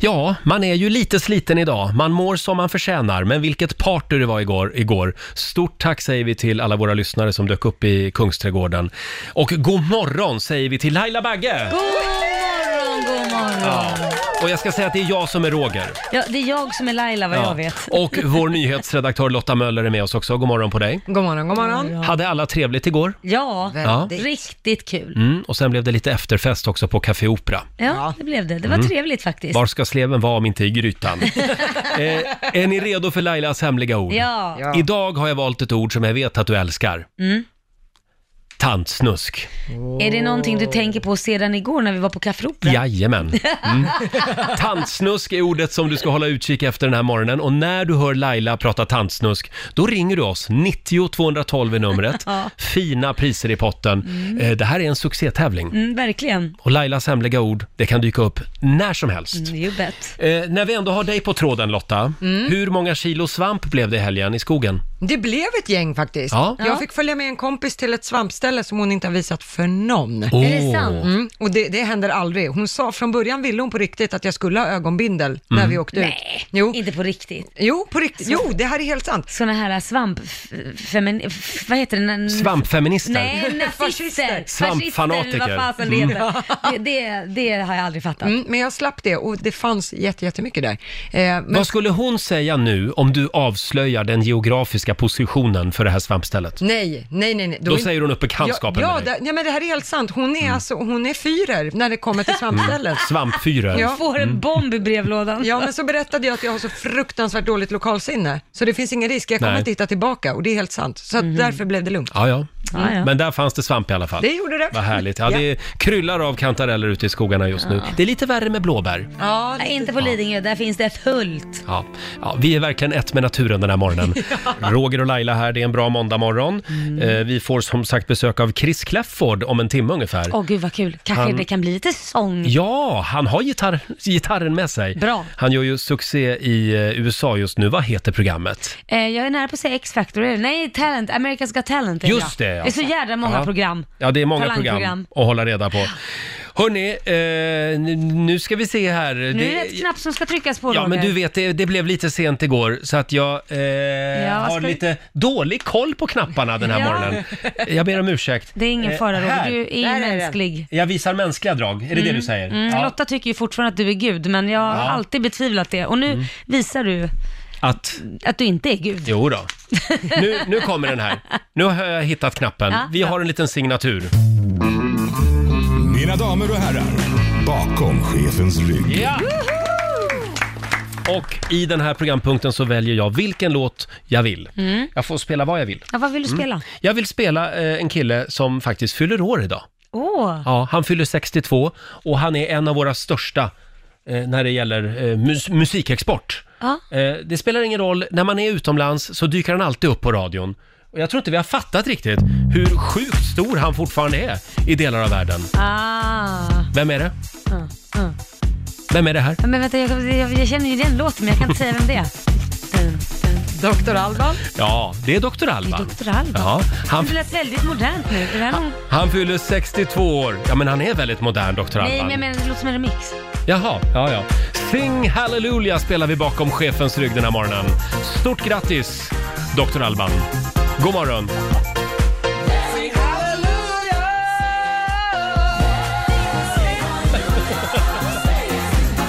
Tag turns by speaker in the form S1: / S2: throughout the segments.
S1: Ja, man är ju lite sliten idag. Man mår som man förtjänar. Men vilket party det var igår. igår. Stort tack säger vi till alla våra lyssnare som dök upp i Kungsträdgården. Och god morgon säger vi till Laila Bagge!
S2: God morgon, god morgon.
S1: Ja. Och jag ska säga att det är jag som är Roger.
S2: Ja, det är jag som är Laila vad
S1: Ja.
S2: jag vet.
S1: Och vår nyhetsredaktör Lotta Möller är med oss också. God morgon på dig.
S3: God morgon, god morgon.
S1: Hade alla trevligt igår?
S2: Ja,
S1: Ja.
S2: riktigt kul.
S1: Mm, och sen blev det lite efterfest också på Café Opera.
S2: Ja, det blev det. Det var trevligt faktiskt.
S1: Mm. Var ska sleven vara om inte i grytan? eh, är ni redo för Lailas hemliga ord?
S2: Ja. Mm.
S3: Ja.
S1: Idag har jag valt ett ord som jag vet att du älskar. Tantsnusk.
S2: Är det någonting du tänker på sedan igår när vi var på Café Opera?
S1: Jajamän. Mm. Tantsnusk är ordet som du ska hålla utkik efter den här morgonen och när du hör Laila prata tantsnusk, då ringer du oss. 90 212 är numret. Fina priser i potten. Eh, Det här är en succétävling
S2: Mm, verkligen.
S1: och Lailas hemliga ord, det kan dyka upp när som helst.
S2: Mm, You bet.
S1: Eh, när vi ändå har dig på tråden Lotta, hur många kilo svamp blev det i helgen i skogen?
S3: Det blev ett gäng faktiskt.
S1: Ja.
S3: Jag fick följa med en kompis till ett svampställe som hon inte har visat för någon.
S1: Åh,
S2: det sant?
S3: Mm, och det, det händer aldrig. Hon sa, från början ville hon på riktigt att jag skulle ha ögonbindel
S1: Mm.
S3: när vi åkte
S2: Nej,
S3: ut. Jo.
S2: inte på riktigt.
S3: jo, på riktigt. Jo, det här är helt sant.
S2: Såna här svamp... Femin, f- vad heter det? När-
S1: Svampfeminister?
S2: Mm. Nej, nazister.
S3: Fascister.
S1: Svampfanatiker.
S2: Fascister, vad fasen det heter. Det, det, det har jag aldrig fattat.
S3: Mm, men jag slapp det och det fanns jätte, jättemycket där. Eh, men
S1: Vad skulle hon säga nu om du avslöjar den geografiska positionen för det här svampstället?
S3: Nej, nej, nej. nej.
S1: Då
S3: är-
S1: säger hon upp bekantskapen
S3: ja, ja,
S1: med dig. Mm.
S3: det- ja, men det här är helt sant. Hon är, alltså, hon är fyrer när det kommer till svampställen.
S1: Svampfyror.
S3: Ja. Mm.
S2: Får en bomb i brevlådan.
S3: Ja, men så berättade jag att jag har så fruktansvärt dåligt lokalsinne, så det finns ingen risk, jag kommer
S1: Nej.
S3: inte hitta tillbaka och det är helt sant. Så att
S2: Mhm.
S3: därför blev det lugnt.
S1: Ja, ja.
S2: Ja, ja.
S1: Men där fanns det svamp i alla fall.
S3: Det gjorde det.
S1: Vad härligt. Ja, det kryllar av kantareller ute i skogarna just nu. Det är lite värre med blåbär.
S3: Ja,
S2: Nej, inte på Lidingö, där finns det fullt.
S1: Ja, ja, vi är verkligen ett med naturen den här morgonen. Roger och Laila här, det är en bra måndagmorgon.
S3: Mm.
S1: Eh, vi får som sagt besök av Chris Clafford om en timme ungefär.
S2: Åh gud vad kul, kanske
S1: Han-
S2: det kan bli lite sång.
S1: Ja, han har gitarr, gitarren med sig.
S2: Mm. Bra.
S1: Han gör ju succé i eh, USA just nu. Vad heter programmet?
S2: Eh, jag är nära på att säga X-Factor, eller? nej Talent, America's Got Talent är
S1: Just
S2: jag.
S1: det, ja.
S2: Det är så jävla många
S1: Ja.
S2: program.
S1: Ja, det är många
S2: Talangprogram.
S1: program att hålla reda på. Hörni, eh, nu- nu ska vi se här.
S2: Nu är det ett knapp som ska tryckas på
S1: Ja,
S2: Roger.
S1: men du vet, det, det blev lite sent igår så att jag eh,
S2: vad
S1: har
S2: ska vi-
S1: lite dålig koll på knapparna den här
S2: Ja.
S1: morgonen. Jag ber om ursäkt.
S2: Det är ingen
S1: Eh,
S2: fara Roger,
S1: här.
S2: du är
S3: Där är den.
S2: mänsklig.
S1: Jag visar mänskliga drag, är det det du säger?
S2: Mm,
S1: Ja.
S2: Lotta tycker ju fortfarande att du är Gud, men jag har alltid betvivlat det. Och nu
S1: Mm.
S2: visar du
S1: Att,
S2: att du inte är Gud.
S1: jo då. Nu, nu kommer den här. Nu har jag hittat knappen.
S2: Ja,
S1: Vi har en liten signatur.
S4: Mina damer och herrar, bakom chefens rygg.
S1: Ja! Och i den här programpunkten så väljer jag vilken låt jag vill. Jag får spela vad jag vill.
S2: Ja, vad vill du spela?
S1: Jag vill spela eh, en kille som faktiskt fyller år idag.
S2: Åh,
S1: Ja, han fyller 62 och han är en av våra största eh, när det gäller eh, mus- musikexport.
S2: Ja.
S1: Eh, det spelar ingen roll, när man är utomlands så dyker han alltid upp på radion. Och jag tror inte vi har fattat riktigt hur sjukt stor han fortfarande är i delar av världen.
S2: ah.
S1: Vem är det?
S2: Mm, mm.
S1: Vem är det här?
S2: Ja, Men vänta, jag, jag, jag känner ju den låten, men jag kan inte säga vem det är. Dun, dun.
S3: Dr. Alban.
S1: Ja, det är Dr. Alban.
S2: Dr. Alban.
S1: Ja, han,
S2: Det lät väldigt modernt nu. Är det här någon...
S1: han fyller 62 år. Ja, men han är väldigt modern, Dr. Alban.
S2: Nej, men jag menar, det låter som en remix.
S1: Jaha, ja, ja. Sing Hallelujah spelar vi bakom chefens rygg den här morgonen. Stort grattis, Dr. Alban. God morgon.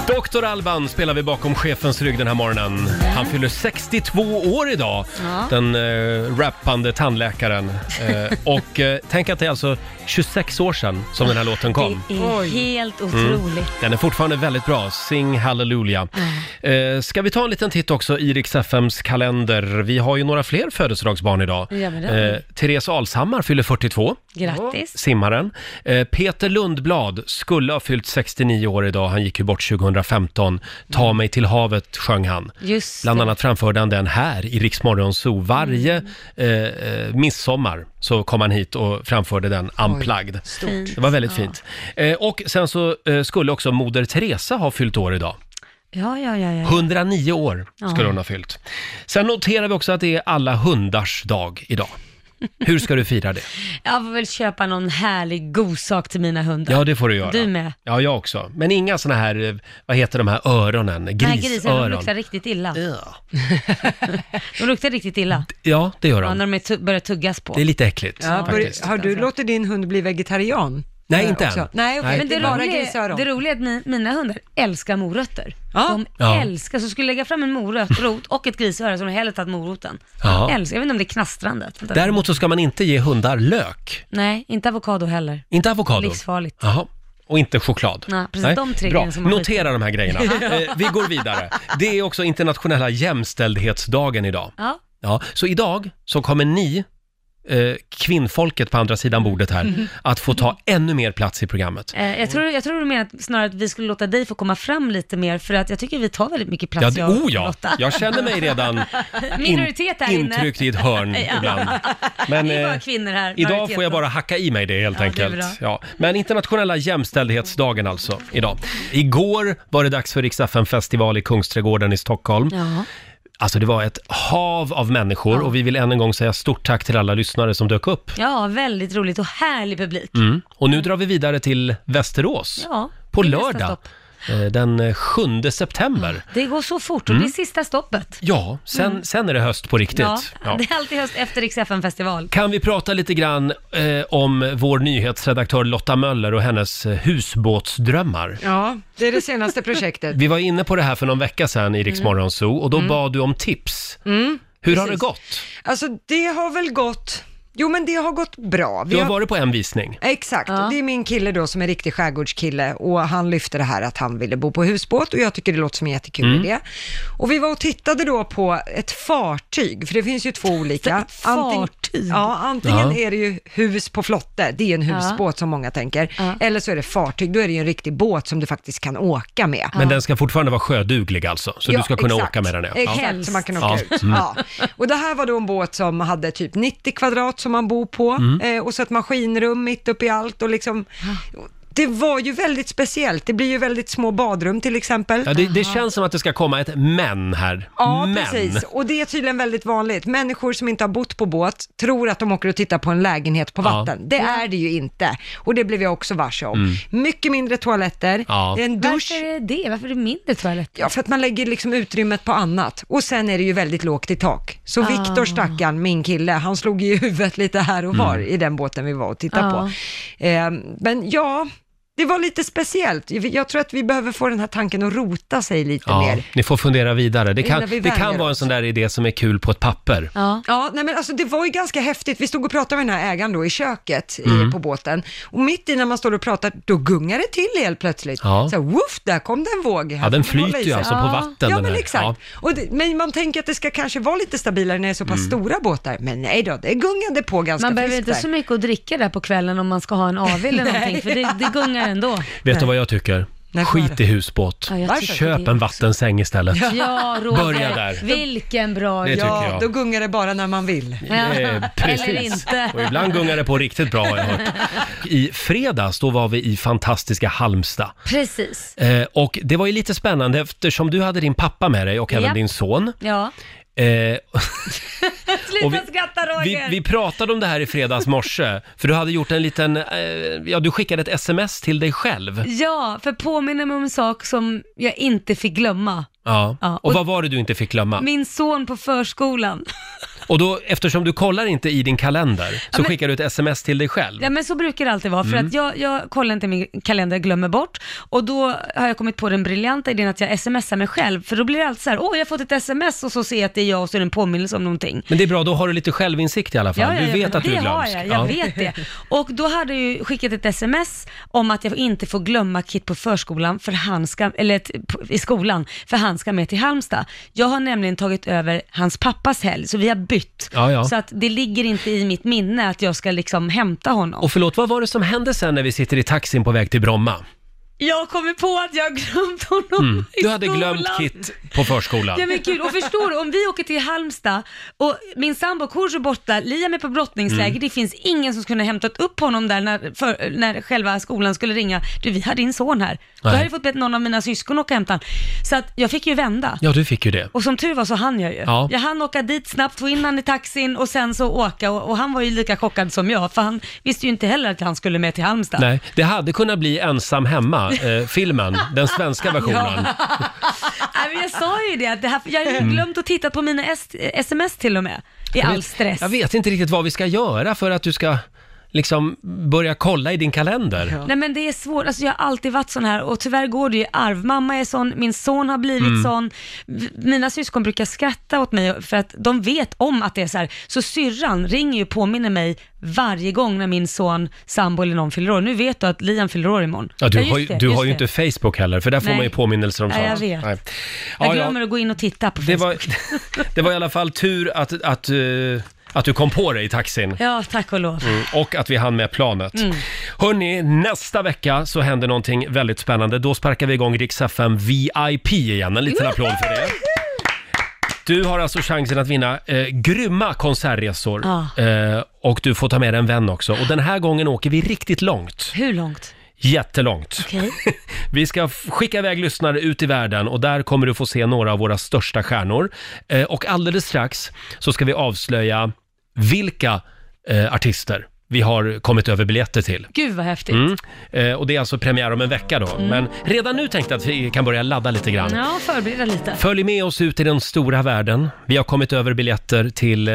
S1: Dr. Alban spelar vi bakom chefens rygg den här morgonen. Han fyller 62 år idag,
S2: Ja.
S1: den eh, rappande tandläkaren. Eh, och eh, tänk att det är alltså 26 år sedan som den här låten kom. Mm.
S2: Det är helt otroligt.
S1: Den är fortfarande väldigt bra, Sing Hallelujah.
S2: Mm.
S1: Eh, ska vi ta en liten titt också i Rix FMs kalender? Vi har ju några fler födelsedagsbarn idag. Eh,
S2: Ja, men det har vi.
S1: Therese Alshammar fyller 42,
S2: Grattis.
S1: simmaren. Eh, Peter Lundblad skulle ha fyllt 69 år idag, han gick ju bort 2015. Ta mig till havet sjöng han.
S2: Mm. Just
S1: Bland
S2: det.
S1: annat framförde han den här i Rix Morgon Zoo. Varje
S2: Mm.
S1: eh, eh, midsommar så kom han hit och framförde den unplugged. Det var väldigt fint. Eh, och sen så eh, skulle också Moder Teresa ha fyllt år idag.
S2: Ja, ja, ja. ja.
S1: 109 år skulle
S2: Ja.
S1: hon ha fyllt. Sen noterar vi också att det är alla hundars dag idag. Hur ska du fira det?
S2: Jag får väl köpa någon härlig god sak till mina hundar.
S1: Ja, det får du göra.
S2: Du med.
S1: Ja, jag också. Men inga såna här, eh, vad heter de här öronen?
S2: Den här grisen, de
S1: Grisöron.
S2: luktar riktigt illa.
S1: Ja.
S2: De luktar riktigt illa.
S1: Ja, det gör
S2: Ja,
S1: de.
S2: när de är tu- börjar tuggas på.
S1: Mm. Det är lite äckligt
S3: Ja,
S1: faktiskt.
S3: bör, har du låtit din hund bli vegetarian?
S1: Nej,
S3: Eh,
S1: inte
S3: också?
S1: än.
S3: Nej, okej.
S1: Nej.
S2: Men det,
S3: bara
S2: roliga,
S3: grisöron.
S2: det roliga är att mi, mina hundar älskar morötter.
S3: Ja.
S2: De
S1: Ja.
S2: älskar, så skulle jag lägga fram en morot rot och ett grisöra så har de hellre tagit moroten.
S1: Ja.
S2: Älskar, jag vet inte om det är knastrandet. Vänta.
S1: Däremot så ska man inte ge hundar lök.
S2: Nej, inte avokado heller.
S1: Inte avokado.
S2: Livsfarligt.
S1: Jaha. Och inte choklad.
S2: Nej, precis. De tre
S1: Bra.
S2: grejerna som man
S1: Notera de här grejerna. Eh, vi går vidare. Det är också internationella jämställdhetsdagen idag.
S2: Ja.
S1: Ja, så idag så kommer ni, eh, kvinnfolket på andra sidan bordet här, att få ta ännu mer plats i programmet.
S2: Eh, jag, tror, jag tror du menar att snarare att vi skulle låta dig få komma fram lite mer, för att jag tycker vi tar väldigt mycket plats,
S1: Ja, det,
S2: Alltså, jag och
S1: oh ja,
S2: Lotta.
S1: jag känner mig redan
S2: Minoritet här inne.
S1: intryckt i ett hörn
S2: Ja.
S1: ibland. Men
S2: Det är bara
S1: eh,
S2: kvinnor här.
S1: idag
S2: majoriteten.
S1: får jag bara hacka i mig det helt
S2: Ja, det är
S1: enkelt.
S2: bra.
S1: ja. Men internationella jämställdhetsdagen alltså, idag. Igår var det dags för Rix festival i Kungsträdgården i Stockholm.
S2: Ja.
S1: Alltså det var ett hav av människor och vi vill än en gång säga stort tack till alla lyssnare som dök upp.
S2: ja, väldigt roligt och härlig publik.
S1: Mm. Och nu drar vi vidare till Västerås.
S2: Ja,
S1: på
S2: det är nästa
S1: lördag,
S2: stopp.
S1: eh, den 7 september.
S2: Det går så fort och det är sista stoppet.
S1: Ja, sen, sen är Mm. det höst på riktigt.
S2: Mm. Ja,
S1: Ja.
S2: det är alltid höst efter Rix festival
S1: Kan vi prata lite grann eh, om vår nyhetsredaktör Lotta Möller och hennes eh, husbåtsdrömmar?
S3: Ja, det är det senaste projektet.
S1: Vi var inne på det här för någon vecka sedan i Rix Morgon Zoo och då bad du om tips. Hur har det
S3: Mm. precis.
S1: gått?
S3: Alltså det har väl gått, jo men det har gått bra. Vi
S1: Du har
S3: har-
S1: varit på en visning.
S3: Exakt, och det är min kille då som är riktig skärgårdskille och han lyfte det här att han ville bo på husbåt och jag tycker det låter som en jättekul idé. Och vi var och tittade då på ett fartyg, för det finns ju två olika.
S2: Ett
S3: Anting-
S2: fartyg?
S3: ja, antingen
S1: Ja.
S3: är det ju hus på flotte, det är en husbåt som många tänker, eller så är det fartyg, då är det ju en riktig båt som du faktiskt kan åka med.
S1: Men den ska fortfarande vara sjöduglig alltså, så du ska kunna åka med den. ja. Ja.
S3: Exakt,
S2: Helst.
S3: så man kan åka
S1: Ja. Mm.
S3: ut. Ja. Och det här var då en båt som hade typ 90 kvadrat som man bor på
S1: Mm.
S3: eh, och så ett maskinrum mitt uppe i allt och liksom det var ju väldigt speciellt. Det blir ju väldigt små badrum till exempel.
S1: Ja, det, det känns som att det ska komma ett men här.
S3: Ja,
S1: men.
S3: precis. Och det är tydligen väldigt vanligt. Människor som inte har bott på båt tror att de åker och tittar på en lägenhet på
S1: Ja.
S3: vatten. Det är det ju inte. Och det blev jag också varse om. Mycket mindre toaletter,
S1: Mm. Ja.
S3: det är en dusch.
S2: Varför är det det? Varför är det mindre toalett?
S3: Ja, för att man lägger liksom utrymmet på annat. Och sen är det ju väldigt lågt i tak. Så Viktor stackaren, min kille, han slog i huvudet lite här och
S1: Mm.
S3: var i den båten vi var och tittade på. Eh, men ja, det var lite speciellt. Jag tror att vi behöver få den här tanken att rota sig lite
S1: Ja,
S3: mer.
S1: ni får fundera vidare. Det kan,
S3: Innan vi
S1: det kan
S3: vänjer
S1: vara en
S3: oss.
S1: sån där idé som är kul på ett papper.
S2: Ja.
S3: Ja, nej men alltså det var ju ganska häftigt. Vi stod och pratade med den här ägaren då i köket i-
S1: Mm.
S3: på båten och mitt i när man står och pratar, då gungar det till helt plötsligt.
S1: Ja.
S3: Så här, woof, där kom det en våg. Här
S1: Ja, den
S3: får man hålla
S1: flyter ju
S3: i sig.
S1: alltså på
S2: Ja.
S1: vatten.
S3: Ja,
S1: den
S3: men
S1: här.
S3: exakt.
S1: Ja. Mm.
S3: Och det, men man tänker att det ska kanske vara lite stabilare när det är så pass stora båtar. Men nej då, det gungade på ganska
S2: Man behöver
S3: friskt
S2: inte
S3: där.
S2: så mycket att dricka där på kvällen om man ska ha en AW eller någonting, för det, det gungar ändå.
S1: Vet du vad jag tycker?
S3: Nej, vad är
S1: Skit
S3: det?
S1: i husbåt.
S2: Ja, jag
S3: Varför?
S2: tycker
S1: Köp
S2: det
S1: en
S2: också.
S1: vattensäng istället.
S2: Ja, Roger.
S1: Börja där.
S2: Vilken bra
S1: Det
S2: idé.
S1: tycker
S3: Ja,
S1: jag.
S3: då gungar det bara när man vill.
S1: Eh,
S2: Eller
S1: precis.
S2: inte.
S1: Och ibland gungar det på riktigt bra har jag hört. I fredags, då var vi i fantastiska Halmstad.
S2: Precis.
S1: Eh, och det var ju lite spännande eftersom du hade din pappa med dig och även
S2: Japp.
S1: din son.
S2: Ja.
S1: Eh, Och vi-
S2: Sluta skratta
S1: vi,
S2: Roger.
S1: vi pratade om det här i fredags morse, för du hade gjort en liten, eh, ja du skickade ett sms till dig själv.
S2: Ja, för påminner mig om en sak som jag inte fick glömma.
S1: Ja.
S2: Ja,
S1: och,
S2: och-
S1: vad var det du inte fick glömma?
S2: Min son på förskolan.
S1: Och då, eftersom du kollar inte i din kalender, så skickar du ett sms till dig själv.
S2: Ja men så brukar det alltid vara, för att
S1: Mm.
S2: jag, jag kollar inte min kalender, jag glömmer bort. Och då har jag kommit på den briljanta idén att jag smsar mig själv, för då blir det alltid så här, åh jag har fått ett sms och så ser jag att det är jag och så är det en påminnelse om någonting.
S1: Men det är bra, då har du lite självinsikt i alla fall. du vet
S2: men
S1: att du
S2: det
S1: är glömsk.
S2: har jag, jag vet det. Och då hade jag ju skickat ett sms om att jag inte får glömma Kit på förskolan, för han ska, eller t- på- i skolan, för han ska med till Halmstad. Jag har nämligen tagit över hans pappas helg, så vi har bytt.
S1: Ja, ja.
S2: Så att det ligger inte i mitt minne att jag ska liksom hämta honom.
S1: Och förlåt, vad var det som hände sen när vi sitter i taxin på väg till Bromma?
S2: Jag kommer på att jag har glömt honom i
S1: Mm. Du hade glömt
S2: skolan.
S1: Kit på förskolan.
S2: Ja men kul, och förstår du, om vi åker till Halmstad och min sambo Kodjo är borta, Liam är på brottningsläger,
S1: Mm.
S2: det finns ingen som skulle ha hämtat upp honom där när, för, när själva skolan skulle ringa. Du, vi har din son här. Då hade jag fått be någon av mina syskon åka och hämta honom. Så att jag fick ju vända.
S1: Ja, du fick ju det.
S2: Och som tur var så hann jag ju.
S1: Ja.
S2: Jag hann åka dit snabbt, få in han i taxin och sen så åka och, och han var ju lika chockad som jag, för han visste ju inte heller att han skulle med till Halmstad.
S1: Nej, det hade kunnat bli ensam hemma-filmen, den svenska versionen.
S2: Nej, men jag sa ju det, att det här, jag har ju glömt att titta på mina est- sms till och med. I all
S1: Mm.
S2: stress.
S1: Jag vet inte riktigt vad vi ska göra för att du ska liksom börja kolla i din kalender.
S2: Nej men det är svårt, alltså jag har alltid varit sån här och tyvärr går det ju i arv. Mamma är sån, min son har blivit
S1: Mm.
S2: sån. V- Mina syskon brukar skratta åt mig för att de vet om att det är så här. Så syrran ringer ju och påminner mig varje gång när min son, sambo eller någon fyller år. Nu vet du att Liam fyller år imorgon.
S1: Ja, du
S2: just
S1: har, ju-
S2: det,
S1: du
S2: just
S1: har ju
S2: det.
S1: inte Facebook heller, för där får
S2: Nej.
S1: man ju påminnelser om
S2: Nej, jag
S1: sånt.
S2: vet.
S1: Nej. Ja,
S2: Jag
S1: ja.
S2: glömmer att gå in och titta på
S1: Det
S2: Facebook.
S1: var, det var i alla fall tur att, att, eh, att du kom på det i taxin.
S2: Ja, tack och lov.
S1: Mm, Och att vi hann med planet.
S2: Mm.
S1: Hörni, nästa vecka så händer någonting väldigt spännande. Då sparkar vi igång Rix FM VIP igen. En liten applåd för det. Du har alltså chansen att vinna eh, grymma konsertresor.
S2: Ja.
S1: Eh, och du får ta med dig en vän också. Och den här gången åker vi riktigt långt.
S2: Hur långt?
S1: Jättelångt.
S2: Okej.
S1: Vi ska f- skicka iväg lyssnare ut i världen och där kommer du få se några av våra största stjärnor. Eh, och alldeles strax så ska vi avslöja vilka eh, artister vi har kommit över biljetter till.
S2: Gud vad häftigt.
S1: Mm. Eh, och det är alltså premiär om en vecka då. Men redan nu tänkte jag att vi kan börja ladda lite grann.
S2: Mm. Ja, förbereda lite.
S1: Följ med oss ut i den stora världen. Vi har kommit över biljetter till eh,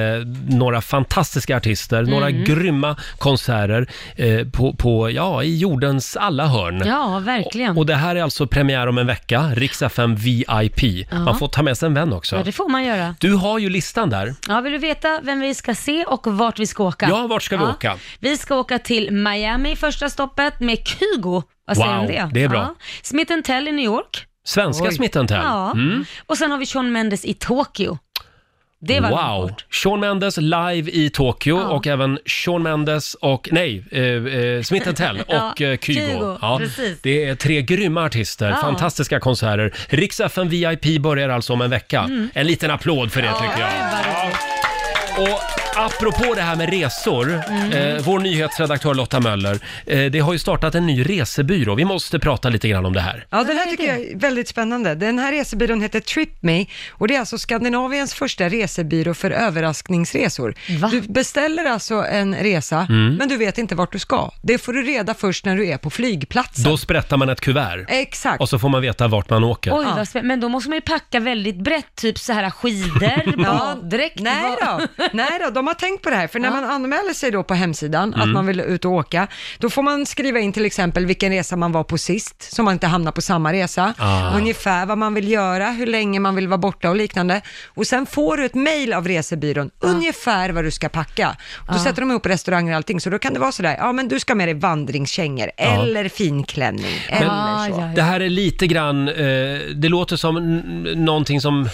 S1: några fantastiska artister, några
S2: Mm.
S1: grymma konserter eh, på, på, ja, i jordens alla hörn.
S2: Ja, verkligen.
S1: Och det här är alltså premiär om en vecka, Rix FM VIP. Man får ta med sig en vän också.
S2: Ja, det får man göra.
S1: Du har ju listan där.
S2: Ja, vill du veta vem vi ska se och vart vi ska åka?
S1: Ja, vart ska vi åka?
S2: Vi ska åka till Miami första stoppet med Kygo. Vad säger
S1: Wow,
S2: du om det?
S1: det är bra.
S2: Ja. Smith Tell i New York.
S1: Svenska
S3: Oj.
S1: Smith Tell.
S2: Ja.
S1: Mm.
S2: Och sen har vi Sean Mendes i Tokyo. Det var långt
S1: Wow!
S2: bort.
S1: Sean Mendes live i Tokyo
S2: Ja.
S1: och även Sean Mendes och, nej, eh, eh, Smith Tell
S2: Ja,
S1: och eh, Kygo.
S2: Kygo, precis.
S1: det är tre grymma artister,
S2: Ja.
S1: fantastiska konserter. Rix FM VIP börjar alltså om en vecka.
S2: Mm.
S1: En liten applåd för det tycker jag.
S2: Gud, vad roligt.
S1: Och apropå det här med resor,
S2: Mm.
S1: eh, vår nyhetsredaktör Lotta Möller, eh, det har ju startat en ny resebyrå. Vi måste prata lite grann om det här.
S3: Ja, den
S2: vad
S3: här
S2: är
S3: tycker
S2: det?
S3: jag är väldigt spännande. Den här resebyrån heter TripMe och det är alltså Skandinaviens första resebyrå för överraskningsresor.
S2: Va?
S3: Du beställer alltså en resa,
S1: Mm.
S3: men du vet inte vart du ska. Det får du reda först när du är på flygplatsen.
S1: Då sprättar man ett kuvert
S3: Exakt.
S1: och så får man veta vart man åker.
S2: Oj, vad spännande. Men då måste man ju packa väldigt brett, typ så här skidor, baddräkt.
S3: Nej
S2: vad-
S3: då. Nej då, de har tänkt på det här, för när man anmäler sig då på hemsidan
S2: Mm.
S3: att man vill ut och åka, då får man skriva in till exempel vilken resa man var på sist, så man inte hamnar på samma resa,
S1: Ah.
S3: ungefär vad man vill göra, hur länge man vill vara borta och liknande. Och sen får du ett mail av resebyrån,
S2: Ah.
S3: ungefär vad du ska packa. Och då sätter de ihop restauranger och allting, så då kan det vara sådär, ja men du ska med dig vandringskängor, eller finklänning, eller
S2: Ah,
S3: så.
S2: ja,
S1: Det
S2: ja.
S1: här är lite grann, eh, det låter som n- någonting som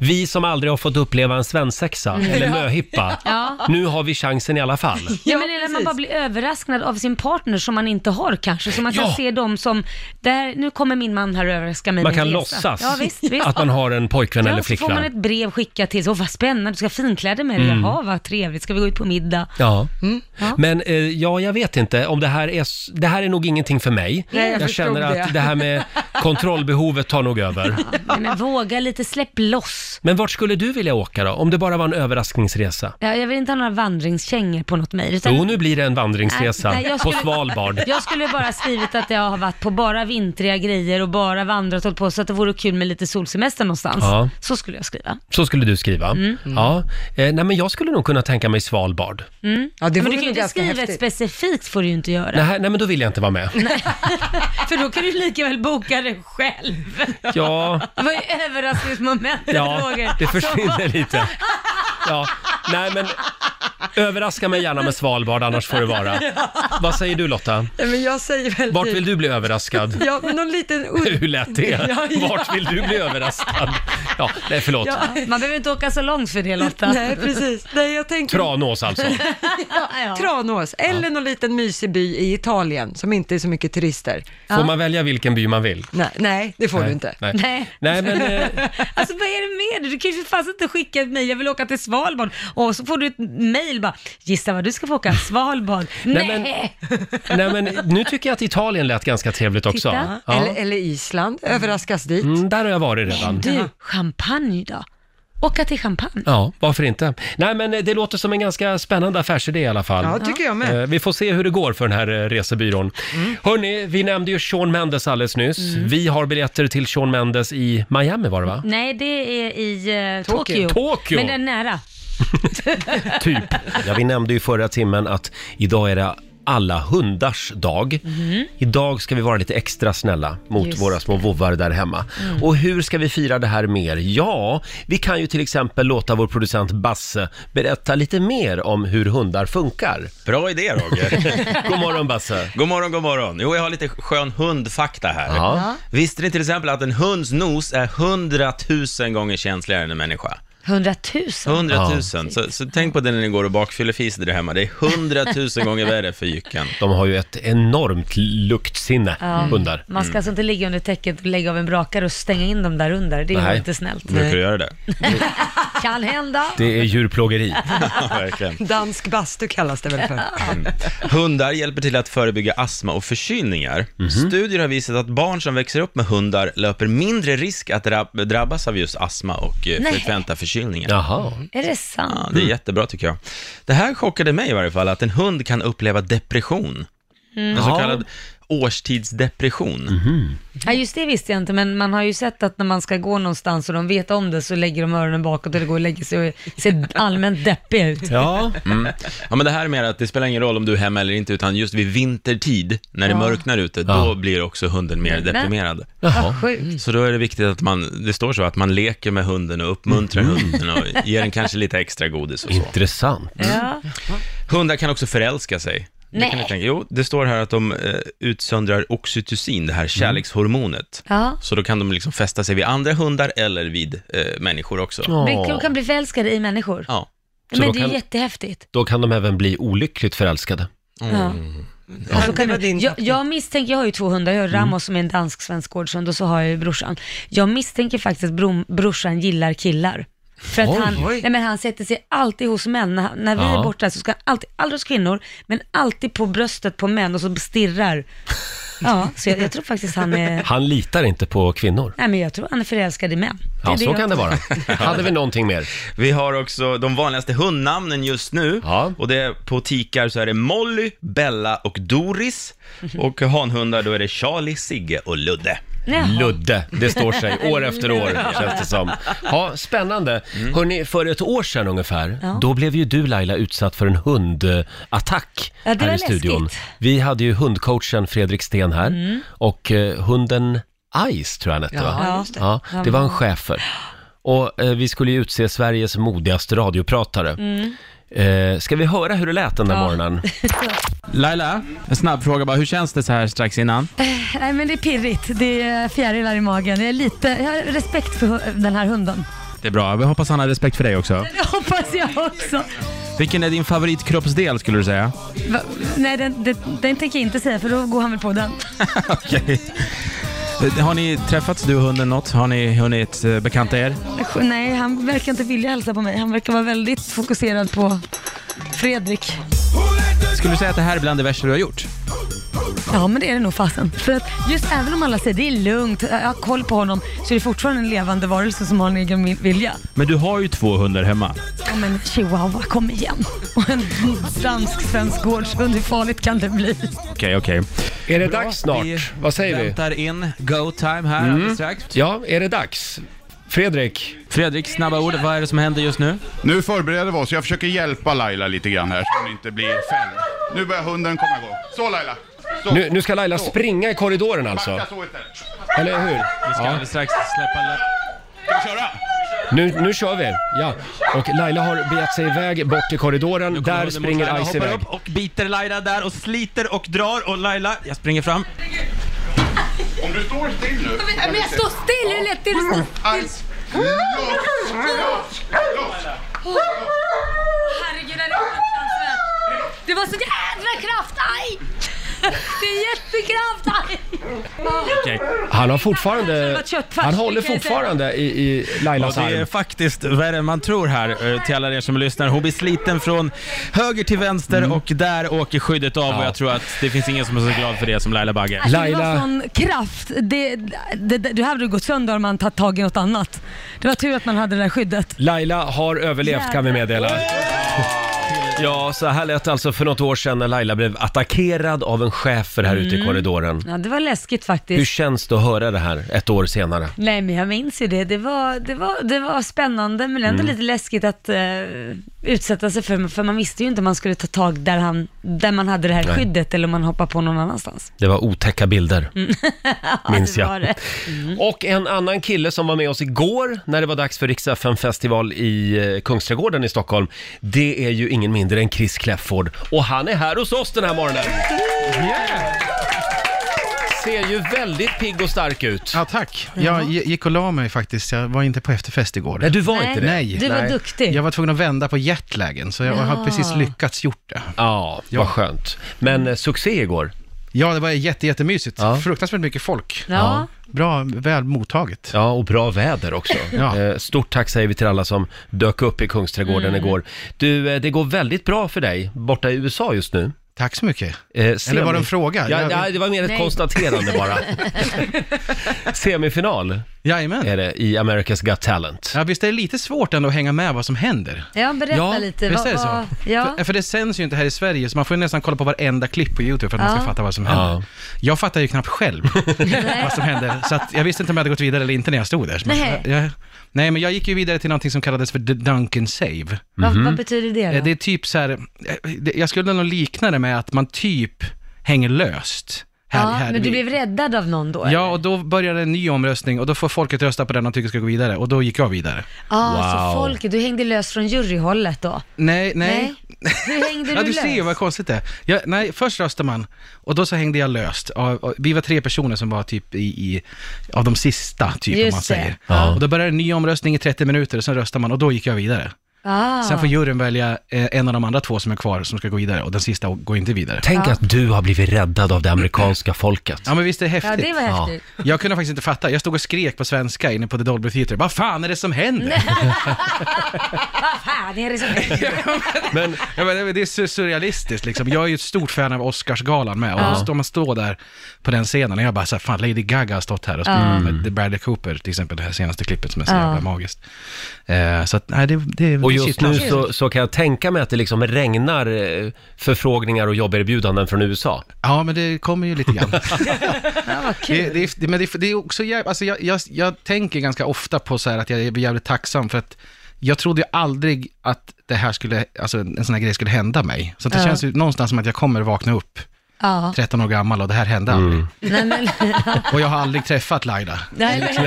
S1: vi som aldrig har fått uppleva en svensexa eller möhippa,
S2: Mm. Ja.
S1: nu har vi chansen i alla fall.
S2: Ja,
S3: Ja,
S2: men eller man
S3: precis.
S2: bara blir överraskad av sin partner som man inte har kanske, så man kan
S1: Ja.
S2: se dem som, där, nu kommer min man här och överraskar mig
S1: Man
S2: med
S1: kan
S2: en resa.
S1: låtsas
S2: Ja, visst, visst.
S1: att man har en pojkvän eller
S2: ja, så får man
S1: flickvän. Mm.
S2: ett brev skickat till, så "Åh, vad spännande, du ska ha finkläder med dig, jaha vad trevligt, ska vi gå ut på middag?
S1: Ja.
S2: Mm, Ja.
S1: men eh, ja, jag vet inte om det här är, s- det här är nog ingenting för mig.
S3: Nej, jag
S1: jag
S3: förstod
S1: känner att
S3: det.
S1: det här med kontrollbehovet tar nog över.
S2: Nej, men våga lite, släpp loss.
S1: Men vart skulle du vilja åka då? Om det bara var en överraskningsresa?
S2: Ja, jag vill inte ha några vandringskängor på något mejl. utan-
S1: Jo, nu blir det en vandringsresa
S2: Nej, nej,
S1: på
S2: jag skulle-
S1: Svalbard.
S2: Jag skulle bara skrivit att jag har varit på bara vintriga grejer och bara vandrat och hållit på, så att det vore kul med lite solsemester någonstans.
S1: Ja.
S2: Så skulle jag skriva.
S1: Så skulle du skriva.
S2: Mm.
S1: Ja. Eh, nej, men jag skulle nog kunna tänka mig Svalbard.
S3: Ja, det
S2: Men du
S3: vore
S2: kan ju
S3: ju
S2: inte
S3: ganska
S2: skriva ett
S3: häftigt.
S2: specifikt, får du ju inte göra.
S1: Nej, nej, men då vill jag inte vara med.
S2: För då kan du lika väl boka det själv.
S1: Ja,
S2: Det var ju överraskningsmomentet
S1: ja
S2: Roger.
S1: det
S2: Så
S1: försvinner lite. Ja, nej, men Överraska mig gärna med Svalbard, annars får det vara. Vad säger du Lotta?
S3: Nej, Men jag säger väl
S1: Vart
S3: typ-
S1: vill du bli överraskad?
S3: Ja, men någon liten...
S1: Hur lät det?
S3: Ja, ja.
S1: Vart vill du bli överraskad? Ja, nej förlåt.
S3: Ja,
S2: Man behöver inte åka så långt för det Lotta.
S3: nej, precis. Nej, jag tänker...
S1: Tranås alltså.
S2: Ja.
S3: Tranås, eller någon liten mysig by i Italien som inte är så mycket turister.
S1: Får man välja vilken by man vill?
S3: Nej, nej det får du inte.
S1: Nej.
S2: Nej.
S1: Nej, men eh,
S2: Alltså vad är det med dig? Du kan ju för fasen inte skicka ett mejl, jag vill åka till Svalbard. Och så får du ett mejl bara, gissa vad du ska få åka, Svalbard. Nej!
S1: men- Nej men nu tycker jag att Italien lät ganska trevligt också.
S2: Titta.
S3: Eller,
S1: Ja.
S3: eller Island, överraskas dit.
S1: Mm, där har jag varit redan.
S2: Du, champagne då? Åka till champagne?
S1: Ja, varför inte? Nej men eh, det låter som en ganska spännande affärsidé i alla fall.
S3: Ja, tycker jag med. Mm.
S1: Eh, Vi får se hur det går för den här eh, resebyrån. Hörni, vi nämnde ju Shawn Mendes alldeles nyss. Vi har biljetter till Shawn Mendes i Miami var det va?
S2: Nej, det är i eh, Tokyo.
S3: Tokyo.
S1: Tokyo.
S2: Men det är nära.
S1: Typ. Ja, vi nämnde ju förra timmen att idag är det alla hundars dag. Idag ska vi vara lite extra snälla mot
S2: Just
S1: våra små vovvar där hemma. Och hur ska vi fira det här mer? Ja, vi kan ju till exempel låta vår producent Basse berätta lite mer om hur hundar funkar.
S5: Bra idé Roger.
S1: God morgon Basse!
S5: god morgon, god morgon. Jo, jag har lite skön hundfakta här.
S1: Ja.
S5: Visste ni till exempel att en hunds nos är 100 000 gånger känsligare än en människa?
S2: 100 000.
S5: 100 000.
S1: Ja.
S5: Så, så tänk på det när ni går och bakfyller fis där hemma. Det är 100 000 gånger värre för jycken.
S1: De har ju ett enormt luktsinne, hundar.
S2: Man ska alltså inte ligga under täcket och lägga av en brakare och stänga in dem där under. Det är
S1: Nej.
S2: ju inte snällt.
S5: Brukar du göra det?
S2: Kan hända.
S1: Det är djurplågeri.
S5: Ja, verkligen.
S3: Dansk bastu kallas det väl för.
S5: Hundar hjälper till att förebygga astma och förkylningar. Studier har visat att barn som växer upp med hundar löper mindre risk att drab- drabbas av just astma och eh,
S2: Nej.
S5: frekventa förkylningar.
S1: Jaha.
S2: Är det sant?
S5: Ja, det
S1: Mm.
S5: är jättebra tycker jag. Det här chockade mig i varje fall, att en hund kan uppleva depression. En så
S1: Ja. Mhm.
S5: kallad årstidsdepression.
S2: Ja, just det visste jag inte, men man har ju sett att när man ska gå någonstans och de vet om det så lägger de öronen bakåt eller går och lägger sig och ser allmänt deppiga ut.
S1: Ja.
S5: Ja, men det här är mer att det spelar ingen roll om du är hemma eller inte, utan just vid vintertid, när det mörknar ute,
S1: Ja.
S5: då blir också hunden mer deprimerad.
S1: Jaha. Mm.
S2: Sjukt.
S5: Så då är det viktigt att man, det står så, att man leker med hunden och uppmuntrar
S1: Mm.
S5: hunden och ger den kanske lite extra godis och så.
S1: Intressant.
S2: Ja.
S5: Hundar kan också förälska sig. Det kan
S2: Nej.
S5: jag tänka. Jo, det står här att de eh, utsöndrar oxytocin, det
S1: Mm.
S5: här kärlekshormonet.
S2: Ja.
S5: Så då kan de liksom fästa sig vid andra hundar eller vid eh, människor också.
S2: Men de kan bli förälskade i människor.
S5: Ja.
S1: Så
S2: men
S1: de
S2: det är
S1: kan-
S2: jättehäftigt.
S1: Då kan de även bli olyckligt förälskade.
S2: Ja.
S3: Ja, det var din
S2: Jag, jag misstänker, jag har ju två hundar, jag har
S1: Mm.
S2: Ramos som är en dansk-svensk gårdshund och så har jag ju brorsan. Jag misstänker faktiskt att brom- brorsan gillar killar. För att
S1: Oj.
S2: han,
S3: Oj.
S2: nej men han sätter sig alltid hos män. När, han- när vi
S1: Ja.
S2: är borta så ska han alltid, aldrig hos kvinnor, men alltid på bröstet på män och så stirrar. Ja, så jag, jag tror faktiskt han är,
S1: Han litar inte på kvinnor.
S2: nej men jag tror han är förälskad i män. Det är
S1: Ja,
S2: det
S1: så
S2: jag
S1: kan det
S2: tror.
S1: vara. Hade vi någonting mer?
S5: Vi har också de vanligaste hundnamnen just nu.
S1: Ja.
S5: Och det är, på tikar så är det Molly, Bella och Doris.
S6: Mhm.
S5: Och hanhundar då är det Charlie, Sigge och Ludde.
S2: Jaha.
S1: Ludde, det står sig år efter år känns det som. Ja, spännande. Hörni, för ett år sedan ungefär,
S2: Ja.
S1: då blev ju du Laila utsatt för en hundattack
S2: Ja, det
S1: här
S2: var
S1: i studion.
S2: läskigt. Mm.
S1: Vi hade ju hundcoachen Fredrik Sten här och eh, hunden Ice tror jag han hette va?
S3: Ja,
S2: Ja.
S3: just
S1: Ja, det var en schäfer. Och eh, vi skulle ju utse Sveriges modigaste radiopratare.
S2: Mm.
S1: Eh, ska vi höra hur det lät den där morgonen?
S6: Laila, en snabb fråga bara. Hur känns det så här strax innan?
S7: Nej men det är pirrigt. Det är fjärilar i magen. Jag, är lite, jag har respekt för hu- den här hunden.
S6: Det är bra. Vi hoppas han har respekt för dig också.
S7: Det hoppas jag också.
S6: Vilken är din favoritkroppsdel skulle du säga?
S7: Va? Nej, den, den, den tänker jag inte säga för då går han väl på den.
S6: Okej. Har ni träffats du och hunden något? Har ni hunnit eh, bekanta er?
S7: Nej, han verkar inte vilja hälsa på mig. Han verkar vara väldigt fokuserad på Fredrik.
S6: Skulle du säga att det här är bland det värsta du har gjort?
S7: Ja, men det är det nog fasen. För att just även om alla säger det är lugnt, jag har koll på honom, så är det fortfarande en levande varelse som har en egen vil- vilja.
S6: Men du har ju två hundar hemma.
S7: Ja men chihuahua, kom igen. Och en dansk-svensk gårdshund, hur farligt kan det bli?
S6: Okej, okej.
S1: Är det dags snart? Vad säger vi? Mm.
S6: Väntar in go time här alldeles strax.
S1: Ja, är det dags? Fredrik?
S6: Fredrik, snabba ord. Vad är det som händer just nu?
S8: Nu förbereder vi oss. Jag försöker hjälpa Laila lite grann här så hon inte blir fälld. Nu börjar hunden komma igång. Så Laila! Så.
S1: Nu, nu ska Laila springa i korridoren alltså,
S8: Backa så istället.
S1: eller hur?
S6: Vi ska alldeles strax släppa...
S8: Ska vi köra?
S1: Nu, nu kör vi! Ja. Och Laila har begett sig iväg bort till korridoren. Där springer Ice
S5: hoppar
S1: iväg.
S5: upp och biter Laila där och sliter och drar och Laila, jag springer fram.
S8: Om du står still nu.
S7: Men jag står still, hur lätt är det?
S8: Ice. Loss, loss, loss.
S7: Herregud, det är fruktansvärt. Det var så jädra kraft, aj! Det är jättekraft, aj!
S1: Han har
S7: Det
S1: fortfarande...
S7: var köttfärs,
S1: Han håller
S7: kan jag säga.
S1: fortfarande i, i Lailas
S5: Och det är
S1: arm.
S5: faktiskt värre än man tror här eh, till alla er som lyssnar. Hon blir sliten från höger till vänster
S1: Mm.
S5: och där åker skyddet av och jag tror att det finns ingen som är så glad för det som Laila Bagge.
S7: Alltså, Det
S1: Laila-
S7: var sån kraft. Det, det, det, du hade gått sönder om man tagit tag i något annat. Det var tur att man hade det där skyddet.
S1: Laila har överlevt kan vi meddela. Ja, så här lät det alltså för något år sedan när Laila blev attackerad av en schäfer här ute
S7: Mm.
S1: i korridoren.
S2: Ja, det var läskigt
S1: Hur
S2: faktiskt.
S1: känns det att höra det här ett år senare?
S2: Nej, men jag minns ju det. Det var, det var, det var spännande, men
S1: Mm.
S2: ändå lite läskigt att eh, utsätta sig för, för man visste ju inte om man skulle ta tag där, han, där man hade det här
S1: Nej.
S2: skyddet eller om man hoppar på någon annanstans.
S1: Det var otäcka bilder, minns
S2: Mm. det
S1: jag.
S2: var det. Mm.
S1: Och en annan kille som var med oss igår när det var dags för Rix FM festival i eh, Kungsträdgården i Stockholm, det är ju ingen mindre än Chris Kläfford. Och han är här hos oss den här morgonen! Ser ju väldigt pigg och stark ut.
S9: Ja, tack. Jag gi- gick och la mig faktiskt. Jag var inte på efterfest igår.
S1: Nej, du var inte det.
S9: Nej.
S2: Du var
S9: nej.
S2: duktig.
S9: Jag var tvungen att vända på jetlagen, så jag har precis lyckats gjort det.
S1: Ja, vad skönt. Men eh, succé igår.
S9: Ja, det var jätte, jättemysigt.
S1: Ja.
S9: Fruktansvärt mycket folk.
S2: Ja.
S9: Bra, väl mottaget.
S1: Ja, och bra väder också.
S9: Ja.
S1: Eh, Stort tack säger vi till alla som dök upp i Kungsträdgården
S9: Mm.
S1: igår. Du, eh, det går väldigt bra för dig borta i USA just nu.
S9: Tack så mycket.
S1: Eh,
S9: Eller var
S1: semi-
S9: det en fråga?
S1: Ja,
S9: Jag-
S1: ja, det var mer ett
S2: Nej.
S1: konstaterande bara. Semifinal
S9: Jajamän.
S1: är det i America's Got Talent.
S9: Ja, visst är det lite svårt ändå att hänga med vad som händer?
S2: Ja, berätta
S1: Ja,
S2: lite.
S9: Visst
S2: Vad-
S9: är det så?
S2: vad- Ja.
S9: För, för det sänds ju inte här i Sverige, så man får ju nästan kolla på varenda klipp på YouTube för att man
S2: Ja.
S9: ska fatta vad som händer.
S1: Ja.
S9: Jag fattar ju knappt själv vad som hände, så att jag visste inte om jag hade gått vidare eller inte när jag stod där. Så man-
S2: Nej.
S9: Jag, nej, men jag gick ju vidare till någonting som kallades för The Duncan Save.
S2: Vad, vad betyder det då?
S9: Eh, Det är typ så här, eh, det- jag skulle nog likna det med att man typ hänger löst. Här,
S2: ja,
S9: här.
S2: men du blev räddad av någon då?
S9: Ja, och då började en ny omröstning och då får folket rösta på den de tycker ska gå vidare och då gick jag vidare.
S2: ah, så
S1: Wow.
S2: folk, du hängde lös från juryhållet då?
S9: Nej, nej.
S2: Hur hängde du
S9: Ja, du
S2: lös?
S9: ser ju vad konstigt det är. jag, Nej, först röstade man och då så hängde jag löst. Och, och, vi var tre personer som var typ i, i av de sista, typ om
S2: Just
S9: man
S2: det.
S9: säger.
S1: Ja.
S9: Och då började en ny omröstning i 30 minuter och sen röstar man och då gick jag vidare.
S2: ah.
S9: Sen får juryn välja eh, en av de andra två som är kvar som ska gå vidare och den sista går inte vidare.
S1: Tänk att du har blivit räddad av det amerikanska folket.
S9: Ja men visst är det
S2: Ja,
S9: häftigt?
S2: det var häftigt.
S9: Jag kunde faktiskt inte fatta, jag stod och skrek på svenska inne på The Dolby Theatre. Vad fan är det som händer?
S2: Vad fan är det som händer?
S1: Men
S9: Ja, men det- det är sur- surrealistiskt liksom. Jag är ju ett stort fan av Oscarsgalan med. Och då står man står där på den scenen och jag bara så här, fan Lady Gaga har stått här och spelat med Bradley Cooper till exempel, det här senaste klippet som är så jävla magiskt. Eh, så att, nej det, det alltså.
S1: Och
S9: det
S1: just
S9: kittlar.
S1: nu så, så kan jag tänka mig att det liksom regnar eh, förfrågningar och jobberbjudanden från USA.
S9: Ja men det kommer ju lite grann.
S2: Ja, vad kul.
S9: det, det, det, men det, det är också jävligt, alltså jag, jag, jag tänker ganska ofta på så här att jag är jävligt tacksam för att jag trodde ju aldrig att det här skulle, alltså en sån här grej skulle hända mig. Så att det känns ju någonstans som att jag kommer vakna upp
S2: Ja.
S9: 13 år gammal och det här hände aldrig.
S2: Nej, men,
S9: Och jag har aldrig träffat Laila.
S2: nej, men,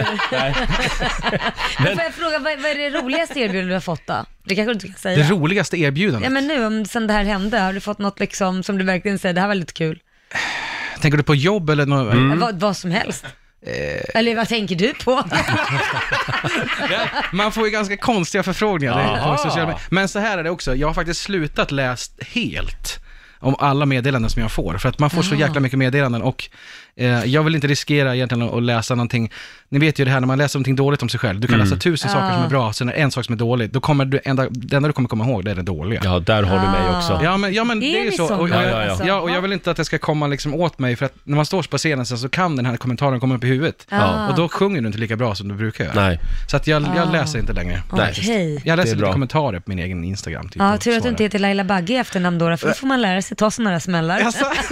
S2: men, får jag fråga, vad, vad är det roligaste erbjudandet du har fått då? Det kanske du inte kan säga?
S9: Det roligaste
S2: ja,
S9: erbjudandet.
S2: men nu om, sen det här hände, har du fått något liksom, som du verkligen säger, det här var lite kul?
S9: Tänker du på jobb eller något?
S2: Vad, vad som helst? Eller vad tänker du på?
S9: Man får ju ganska konstiga förfrågningar
S1: Jaha.
S9: på sociala medier. Men så här är det också, jag har faktiskt slutat läst helt om alla meddelanden som jag får, för att man får
S1: Ah.
S9: så jäkla mycket meddelanden och eh, jag vill inte riskera egentligen att läsa någonting, ni vet ju det här när man läser någonting dåligt om sig själv,
S1: Mm.
S9: du kan läsa tusen saker
S1: Ah.
S9: som är bra, sen är det en sak som är dålig, då kommer du, enda, det enda du kommer komma ihåg det är det dåliga.
S1: Ja, där har du mig också.
S9: Ja men, ja, men
S2: Är
S9: det är ju
S2: ni
S9: så.
S2: såna,
S9: Och, och,
S1: Ja, ja, ja.
S9: ja, och jag vill inte att det ska komma liksom åt mig, för att när man står på scenen sen så kan den här kommentaren komma upp i huvudet.
S2: Ja.
S9: Och då sjunger du inte lika bra som du brukar göra.
S1: Ah. Nej. Ah.
S9: Så att jag, jag läser inte längre.
S1: Nej.
S2: Okej.
S9: Jag
S1: Det är
S9: läser
S1: bra.
S9: lite kommentarer på min egen Instagram. Typ,
S2: Ja,
S9: och
S2: tur att du
S9: svarar.
S2: inte heter Laila Bagge i efternamn då, för då får man lära läser, tar sådana där smällar.
S9: Alltså,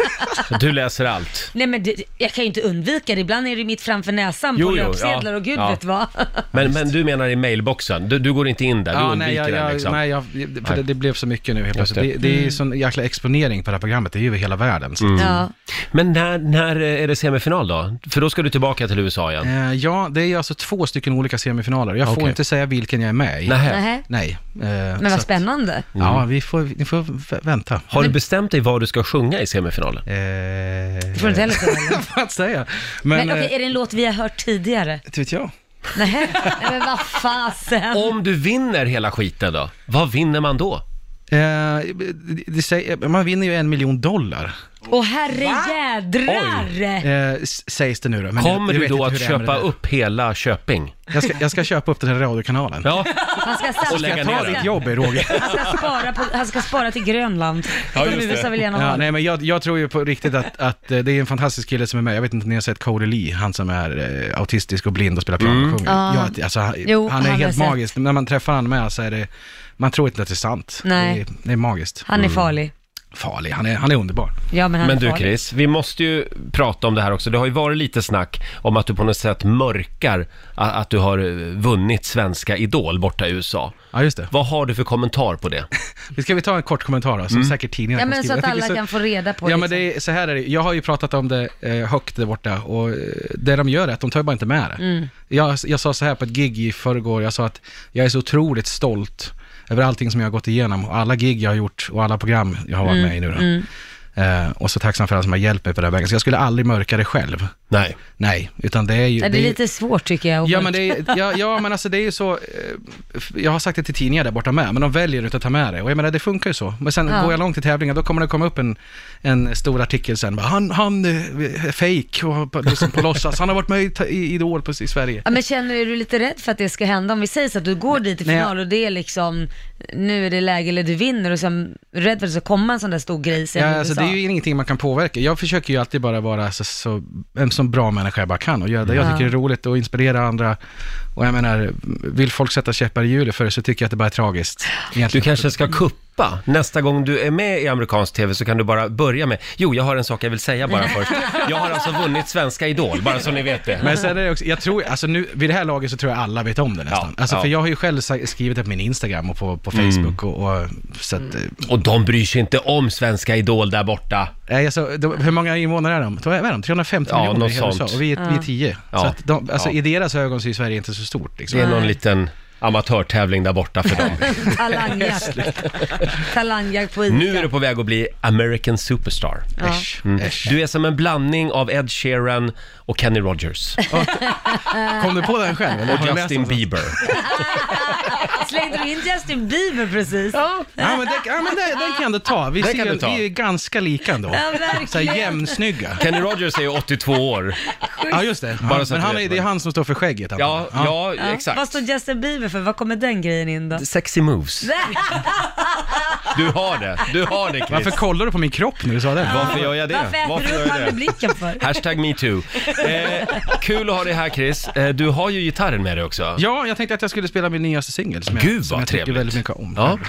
S1: Du läser allt.
S2: Nej men det, jag kan ju inte undvika det, ibland är det mitt framför näsan
S1: Jo,
S2: på
S1: jo,
S2: löpsedlar
S1: ja,
S2: och gud
S1: ja.
S2: vet vad.
S1: Men, men du menar i mailboxen? Du, du går inte in där, du
S9: Ja,
S1: undviker
S9: nej, jag,
S1: den
S9: jag,
S1: liksom?
S9: nej jag, för
S1: Nej.
S9: Det, det blev så mycket nu helt
S1: Just
S9: plötsligt. Det,
S1: det. Mm.
S9: det är
S2: Mm.
S9: ju sån jäkla exponering på det här programmet, det är ju över hela världen. Så.
S2: Ja.
S1: Men när, när är det semifinal då? För då ska du tillbaka till USA igen?
S9: Eh, ja, det är ju alltså två stycken olika semifinaler. Jag
S1: Okej.
S9: får inte säga vilken jag är med i.
S1: Nähä.
S2: Nähä.
S9: Nej. Eh,
S2: Men
S9: så
S2: vad
S9: att-
S2: spännande.
S9: Ja, vi får, ni får vä- vänta.
S1: Har du bestämt dig vad du ska sjunga i semifinalen?
S9: Eh,
S2: Det får du inte heller säga. eller?
S9: vad säga? Men,
S2: Men okej,
S9: eh,
S2: är det en låt vi har hört tidigare?
S9: inte vet jag.
S2: Nej, nej men vad fasen.
S1: Om du vinner hela skiten då, vad vinner man då?
S9: Eh, det, det säger, man vinner ju en miljon dollar,
S2: Åh herrejädrar!
S9: eh, s- sägs det nu då. Men
S1: Kommer
S9: jag- jag
S1: du
S9: vet
S1: då
S9: inte
S1: att
S9: hur det är med
S1: köpa
S9: det där.
S1: upp hela Köping?
S9: Jag ska, jag ska köpa upp den här radiokanalen.
S1: Ja,
S2: Han ska, satsa-
S1: Och lägga
S9: Ta
S1: ner
S2: han
S1: den.
S9: ditt
S2: ska,
S9: jobb, Roger.
S2: han ska, spara på, han ska spara till Grönland. Ja,
S1: just det.
S2: USA vill gärna
S9: Ja,
S2: ha.
S9: nej, men jag, jag tror ju på riktigt att, att eh, det är en fantastisk kille som är med. Jag vet inte om ni har sett Cody Lee, han som är eh, autistisk och blind och spelar piano och sjunger.
S2: Ja.
S9: Ja, att- alltså, han,
S2: Jo,
S9: han är
S2: han har
S9: helt
S2: sett.
S9: magisk. När man träffar han med så är det, man tror inte att det är sant.
S2: Nej.
S9: Det, är, det är magiskt.
S2: Han är farlig.
S9: Farlig, han är, han är underbar.
S2: Ja, men han
S1: men
S2: är
S1: du
S2: farlig.
S1: Chris, vi måste ju prata om det här också. Det har ju varit lite snack om att du på något sätt mörkar a- att du har eh, vunnit svenska Idol borta i USA.
S9: Ja, just det.
S1: Vad har du för kommentar på det?
S9: Vi Ska vi ta en kort kommentar då, som säkert tidningarna
S2: Ja,
S9: kommer
S2: men så att
S9: skriva. Jag tycker
S2: alla
S9: så-
S2: kan få reda på
S9: Ja, men
S2: liksom.
S9: det är, så här är det. Jag har ju pratat om det eh, högt där borta och eh, det de gör är att de tar ju bara inte med det.
S2: Mm.
S9: Jag, jag sa så här på ett gig i förrgår, jag sa att jag är så otroligt stolt över allting som jag har gått igenom och alla gig jag har gjort och alla program jag har varit
S2: Mm.
S9: med i nu då. Eh, och så tacksam för alla som har hjälpt mig på den här vägen. Så jag skulle aldrig mörka det själv.
S1: Nej.
S9: Nej, utan det är ju...
S2: Ja, det är
S9: ju-
S2: lite svårt tycker jag. att
S9: Ja
S2: mörka.
S9: men, det är, ja, ja men alltså det är ju så, eh, f- jag har sagt det till tidningar där borta med, men de väljer inte att ta med det. Och jag menar det funkar ju så. Men sen
S2: Ja.
S9: går jag långt i tävlingar, då kommer det komma upp en, en stor artikel sen. Bara, han, han eh, är fake och på- liksom på låtsas, han har varit med i, ta- i Idol på, i Sverige.
S2: Ja, men känner du, är du lite rädd för att det ska hända? Om vi säger så att du går dit i
S9: Nej, jag-
S2: final och det är liksom, nu är det läge eller du vinner och sen är du rädd för att det ska komma en sån där stor grej sen
S9: Ja,
S2: i
S9: alltså,
S2: USA.
S9: det är ju ingenting man kan påverka. Jag försöker ju alltid bara vara så, så, en så bra människa jag bara kan och göra det jag
S2: Ja.
S9: tycker det är roligt och inspirera andra. Och jag menar, vill folk sätta käppar i hjulet för det så tycker jag att det bara är tragiskt.
S1: Du
S9: egentligen.
S1: kanske ska kuppa. Nästa gång du är med i amerikansk tv så kan du bara börja med, jo jag har en sak jag vill säga bara först. Jag har alltså vunnit svenska Idol, bara så ni vet det.
S9: Men sen är det också, jag tror, alltså nu, vid det här laget så tror jag alla vet om det nästan.
S1: Ja,
S9: alltså
S1: ja. Mm.
S9: för jag har ju själv sa- skrivit det på min Instagram och på, på Facebook och, och så att, eh,
S1: Och de bryr sig inte om svenska Idol där borta.
S9: nej alltså, de, hur många invånare är de? Vad är de? 350
S1: Ja,
S9: miljoner
S1: något
S9: i hela
S1: sånt.
S9: USA och vi, är- vi är 10.
S1: Ja.
S9: Så att de, alltså
S1: Ja.
S9: i deras ögon så är Sverige inte så stort liksom.
S1: Det är någon liten amatörtävling där borta för dem.
S2: Talangjakt. Talangjakt på ICA.
S1: Nu är du på väg att bli American Superstar. Mm.
S9: Äsch, äsch.
S1: Du är som en blandning av Ed Sheeran och Kenny Rogers
S9: Kom du på den själv? Eller?
S1: och
S9: Har du läst
S1: Mm. Justin
S9: någonstans?
S1: Bieber.
S2: Slängde du in Justin Bieber precis?
S9: Ja men, det, ja, men det, den kan jag ändå ta. Vi,
S1: Den
S9: ser,
S1: kan du
S9: ju-
S1: ta.
S9: vi är ju ganska lika ändå.
S2: Ja, verkligen.
S9: så här jämnsnygga.
S1: Kenny Rogers är ju 82 år.
S9: Ja just det.
S1: Bara så att
S9: men
S1: du
S9: han
S1: vet
S9: är,
S1: vad
S9: det är han som står för skägget. antar
S1: Ja,
S9: jag.
S1: ja,
S2: Ja. Vad
S1: exakt.
S2: står Justin Bieber för? Vad kommer den grejen in då?
S1: Sexy moves. Du har det, du har det Chris.
S9: Varför kollar du på min kropp när du sa det?
S1: Varför gör jag det?
S2: Varför äter du
S1: gör
S2: upp
S1: jag
S2: han
S1: det?
S2: med blicken för?
S1: Hashtag metoo. Eh, kul att ha dig här Chris. Eh, du har ju gitarren med dig också.
S9: Ja, jag tänkte att jag skulle spela min nyaste singel som,
S1: Gud,
S9: jag, som
S1: vad
S9: jag tycker
S1: trevligt.
S9: väldigt mycket om.
S1: Ja.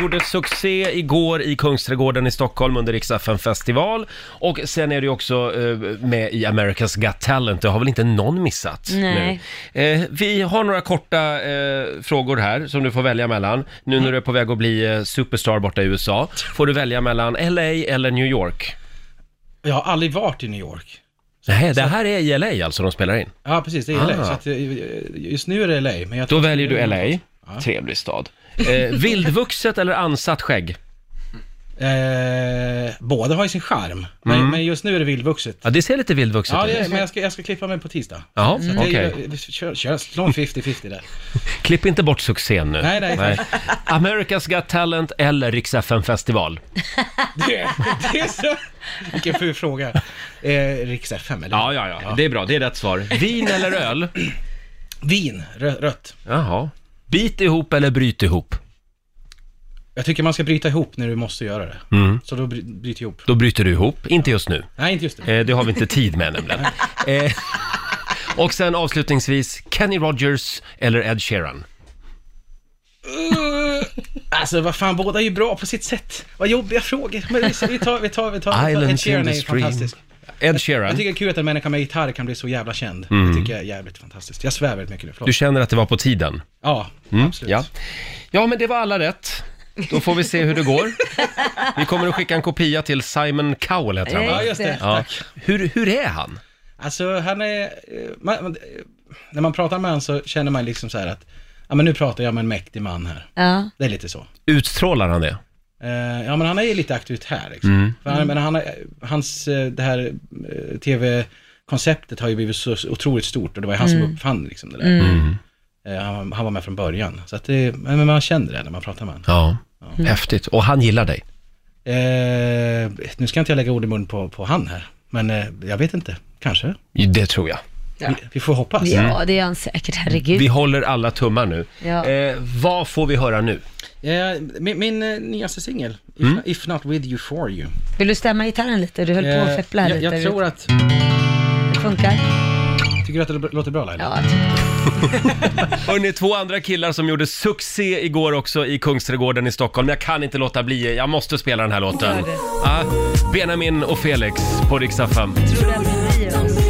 S1: Gjorde succé igår i Kungsträdgården i Stockholm under Rix FM festival och sen är du också eh, med i America's Got Talent. Det har väl inte någon missat
S2: Nej.
S1: nu. Eh, vi har några korta eh, frågor här som du får välja mellan. Nu när du är på väg att bli eh, superstar borta i USA får du välja mellan LA eller New York.
S9: Jag har aldrig varit i New York.
S1: Nej, det här är i LA alltså de spelar in.
S9: Ja, precis, det är
S1: Ah.
S9: LA. Så att, eh, just nu är det LA, men jag
S1: Då
S9: tror-
S1: väljer du LA. Trevlig stad. Eh, vildvuxet eller ansatt skägg?
S9: Eh, båda har ju sin charm, men, men just nu är det vildvuxet.
S1: Mm. Ja, det Mm. ser lite vildvuxet
S9: Ja, det
S1: ut.
S9: är, men jag ska, jag ska klippa mig på tisdag.
S1: Jaha, okej.
S9: Okay. Kör, kör, slå en 50-50 där.
S1: Klipp inte bort succén nu.
S9: Nej, nej.
S1: America's Got Talent eller Rix FM festival?
S9: Det, det är så... Vilken ful fråga. Eh, Riks FM, eller?
S1: Ja, ja, ja, Det är bra. Det är rätt svar. Vin eller öl?
S9: Vin, rö- rött.
S1: Jaha. Bit ihop eller bryt ihop?
S9: Jag tycker man ska bryta ihop när du måste göra det.
S1: Mm.
S9: Så då bry, bryter ihop.
S1: Då bryter du ihop. Inte just nu.
S9: Nej, inte just det.
S1: Eh, det har vi inte tid med nämligen. Eh, och sen avslutningsvis, Kenny Rogers eller Ed Sheeran?
S9: Alltså vad fan, båda är ju bra på sitt sätt. Vad jobbiga frågor. Men vi, vi tar, vi tar, vi tar. Ed
S1: Islands in
S9: Sheeran är
S1: the
S9: ju
S1: stream.
S9: fantastisk.
S1: Ed
S9: Jag
S1: Sheeran.
S9: tycker det är kul att en människa med gitarr kan bli så jävla känd. Det tycker jag är jävligt fantastiskt. Jag svär väldigt mycket nu, förlåt.
S1: Mm. Du känner att det var på tiden?
S9: Ja,
S1: Mm,
S9: absolut.
S1: ja. ja, men det var alla rätt. Då får vi se hur det går. Vi kommer att skicka en kopia till Simon Cowell, heter han va?
S9: Ja, just det.
S1: Ja. Hur, hur är han?
S9: Alltså han är, eh, man, man, eh, när man pratar med honom så känner man liksom så här att, ja men nu pratar jag med en mäktig man här.
S2: Ja.
S9: Det är lite så.
S1: Utstrålar han det?
S9: Eh, ja men han är ju lite auktoritär liksom. För han, men han, är- hans, eh, det här eh, tv-konceptet har ju blivit så otroligt stort och det var ju han som uppfann liksom det där. Eh, han, han var med från början. Så att det, men men man känner det när man pratar med honom.
S1: Ja. Häftigt. Och han gillar dig?
S9: Eh, nu ska inte jag lägga ord i mun på, på han här, men eh, jag vet inte. Kanske.
S1: Det tror jag.
S9: Vi, vi får hoppas.
S2: Ja, det är han säkert, herregud.
S1: Vi håller alla tummar nu.
S2: Ja.
S1: Eh, vad får vi höra nu?
S9: Eh, min min eh, nyaste singel, if, if Not With You For You.
S7: Vill du stämma gitarren lite? Du höll på
S9: Eh,
S7: att feppla här
S9: jag,
S7: lite.
S9: jag tror att...
S7: det funkar.
S9: Tycker du att det lå- låter bra Laila?
S7: Ja, jag tror-
S1: Hörrni, två andra killar som gjorde succé igår också i Kungsträdgården i Stockholm. Jag kan inte låta bli, jag måste spela den här låten. Ah, Benjamin och Felix på riksdag 5.
S7: jag tror det blir Rio.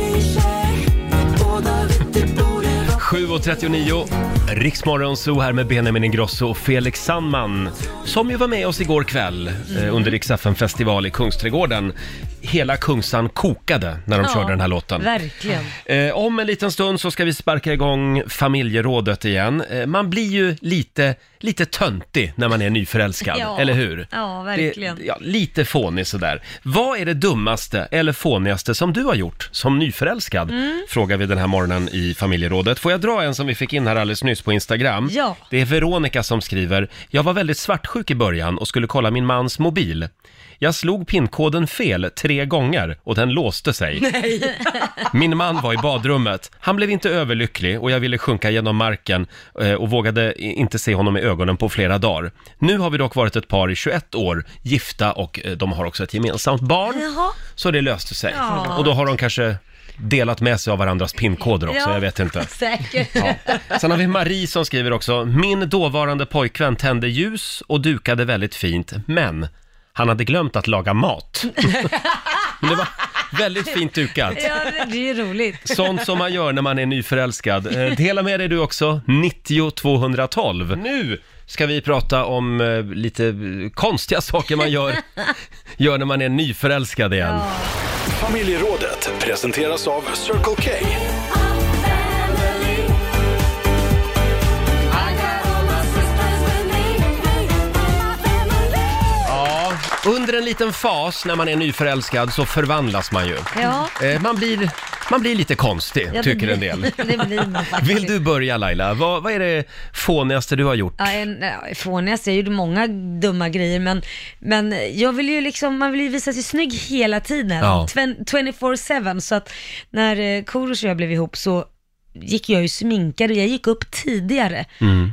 S1: 7.39, Riksmorgon Zoo här med Benjamin Ingrosso och Felix Sandman som ju var med oss igår kväll eh, under Rix festival i Kungsträdgården. Hela Kungsan kokade när de
S7: Ja.
S1: körde den här låten.
S7: Verkligen.
S1: Eh, om en liten stund så ska vi sparka igång familjerådet igen. Eh, man blir ju lite, lite töntig när man är nyförälskad,
S7: Ja.
S1: eller hur?
S7: Ja, verkligen.
S1: Det, ja, lite fånig sådär. Vad är det dummaste eller fånigaste som du har gjort som nyförälskad?
S7: Mm.
S1: Frågar vi den här morgonen i familjerådet. Får jag dra en som vi fick in här alldeles nyss på Instagram?
S7: Ja.
S1: Det är Veronica som skriver. Jag var väldigt svartsjuk i början och skulle kolla min mans mobil. Jag slog pinkoden fel tre gånger och den låste sig. Min man var i badrummet. Han blev inte överlycklig och jag ville sjunka genom marken eh, och vågade i- inte se honom i ögonen på flera dagar. Nu har vi dock varit ett par i 21 år, gifta och eh, de har också ett gemensamt barn.
S7: Jaha.
S1: Så det löste sig. Och då har de kanske delat med sig av varandras pinkoder också,
S7: Ja.
S1: jag vet inte.
S7: Säkert.
S1: Sen har vi Marie som skriver också, min dåvarande pojkvän tände ljus och dukade väldigt fint, men han hade glömt att laga mat. Men det var väldigt fint dukat.
S7: Ja, det- det är ju roligt.
S1: Sånt som man gör när man är nyförälskad. Eh, Dela med dig du också, 90 212. Nu ska vi prata om eh, lite eh, konstiga saker man gör, gör när man är nyförälskad igen.
S4: Familjerådet presenteras av Circle K.
S1: Ja, under en liten fas när man är nyförälskad så förvandlas man ju.
S7: Ja,
S1: Eh, Man blir, man blir lite konstig,
S7: ja, det
S1: tycker
S7: blir-
S1: en del.
S7: Det blir man faktiskt.
S1: Vill du börja Laila? Vad, vad är det fånigaste du har gjort?
S7: Ja, en, ja, fånigast, jag gjorde många dumma grejer men, men jag vill ju liksom, man vill ju visa sig snygg hela tiden.
S1: Ja.
S7: Tven- 24-7 så att när eh, Korosh och jag blev ihop så gick jag ju sminkad och jag gick upp tidigare
S1: Mm.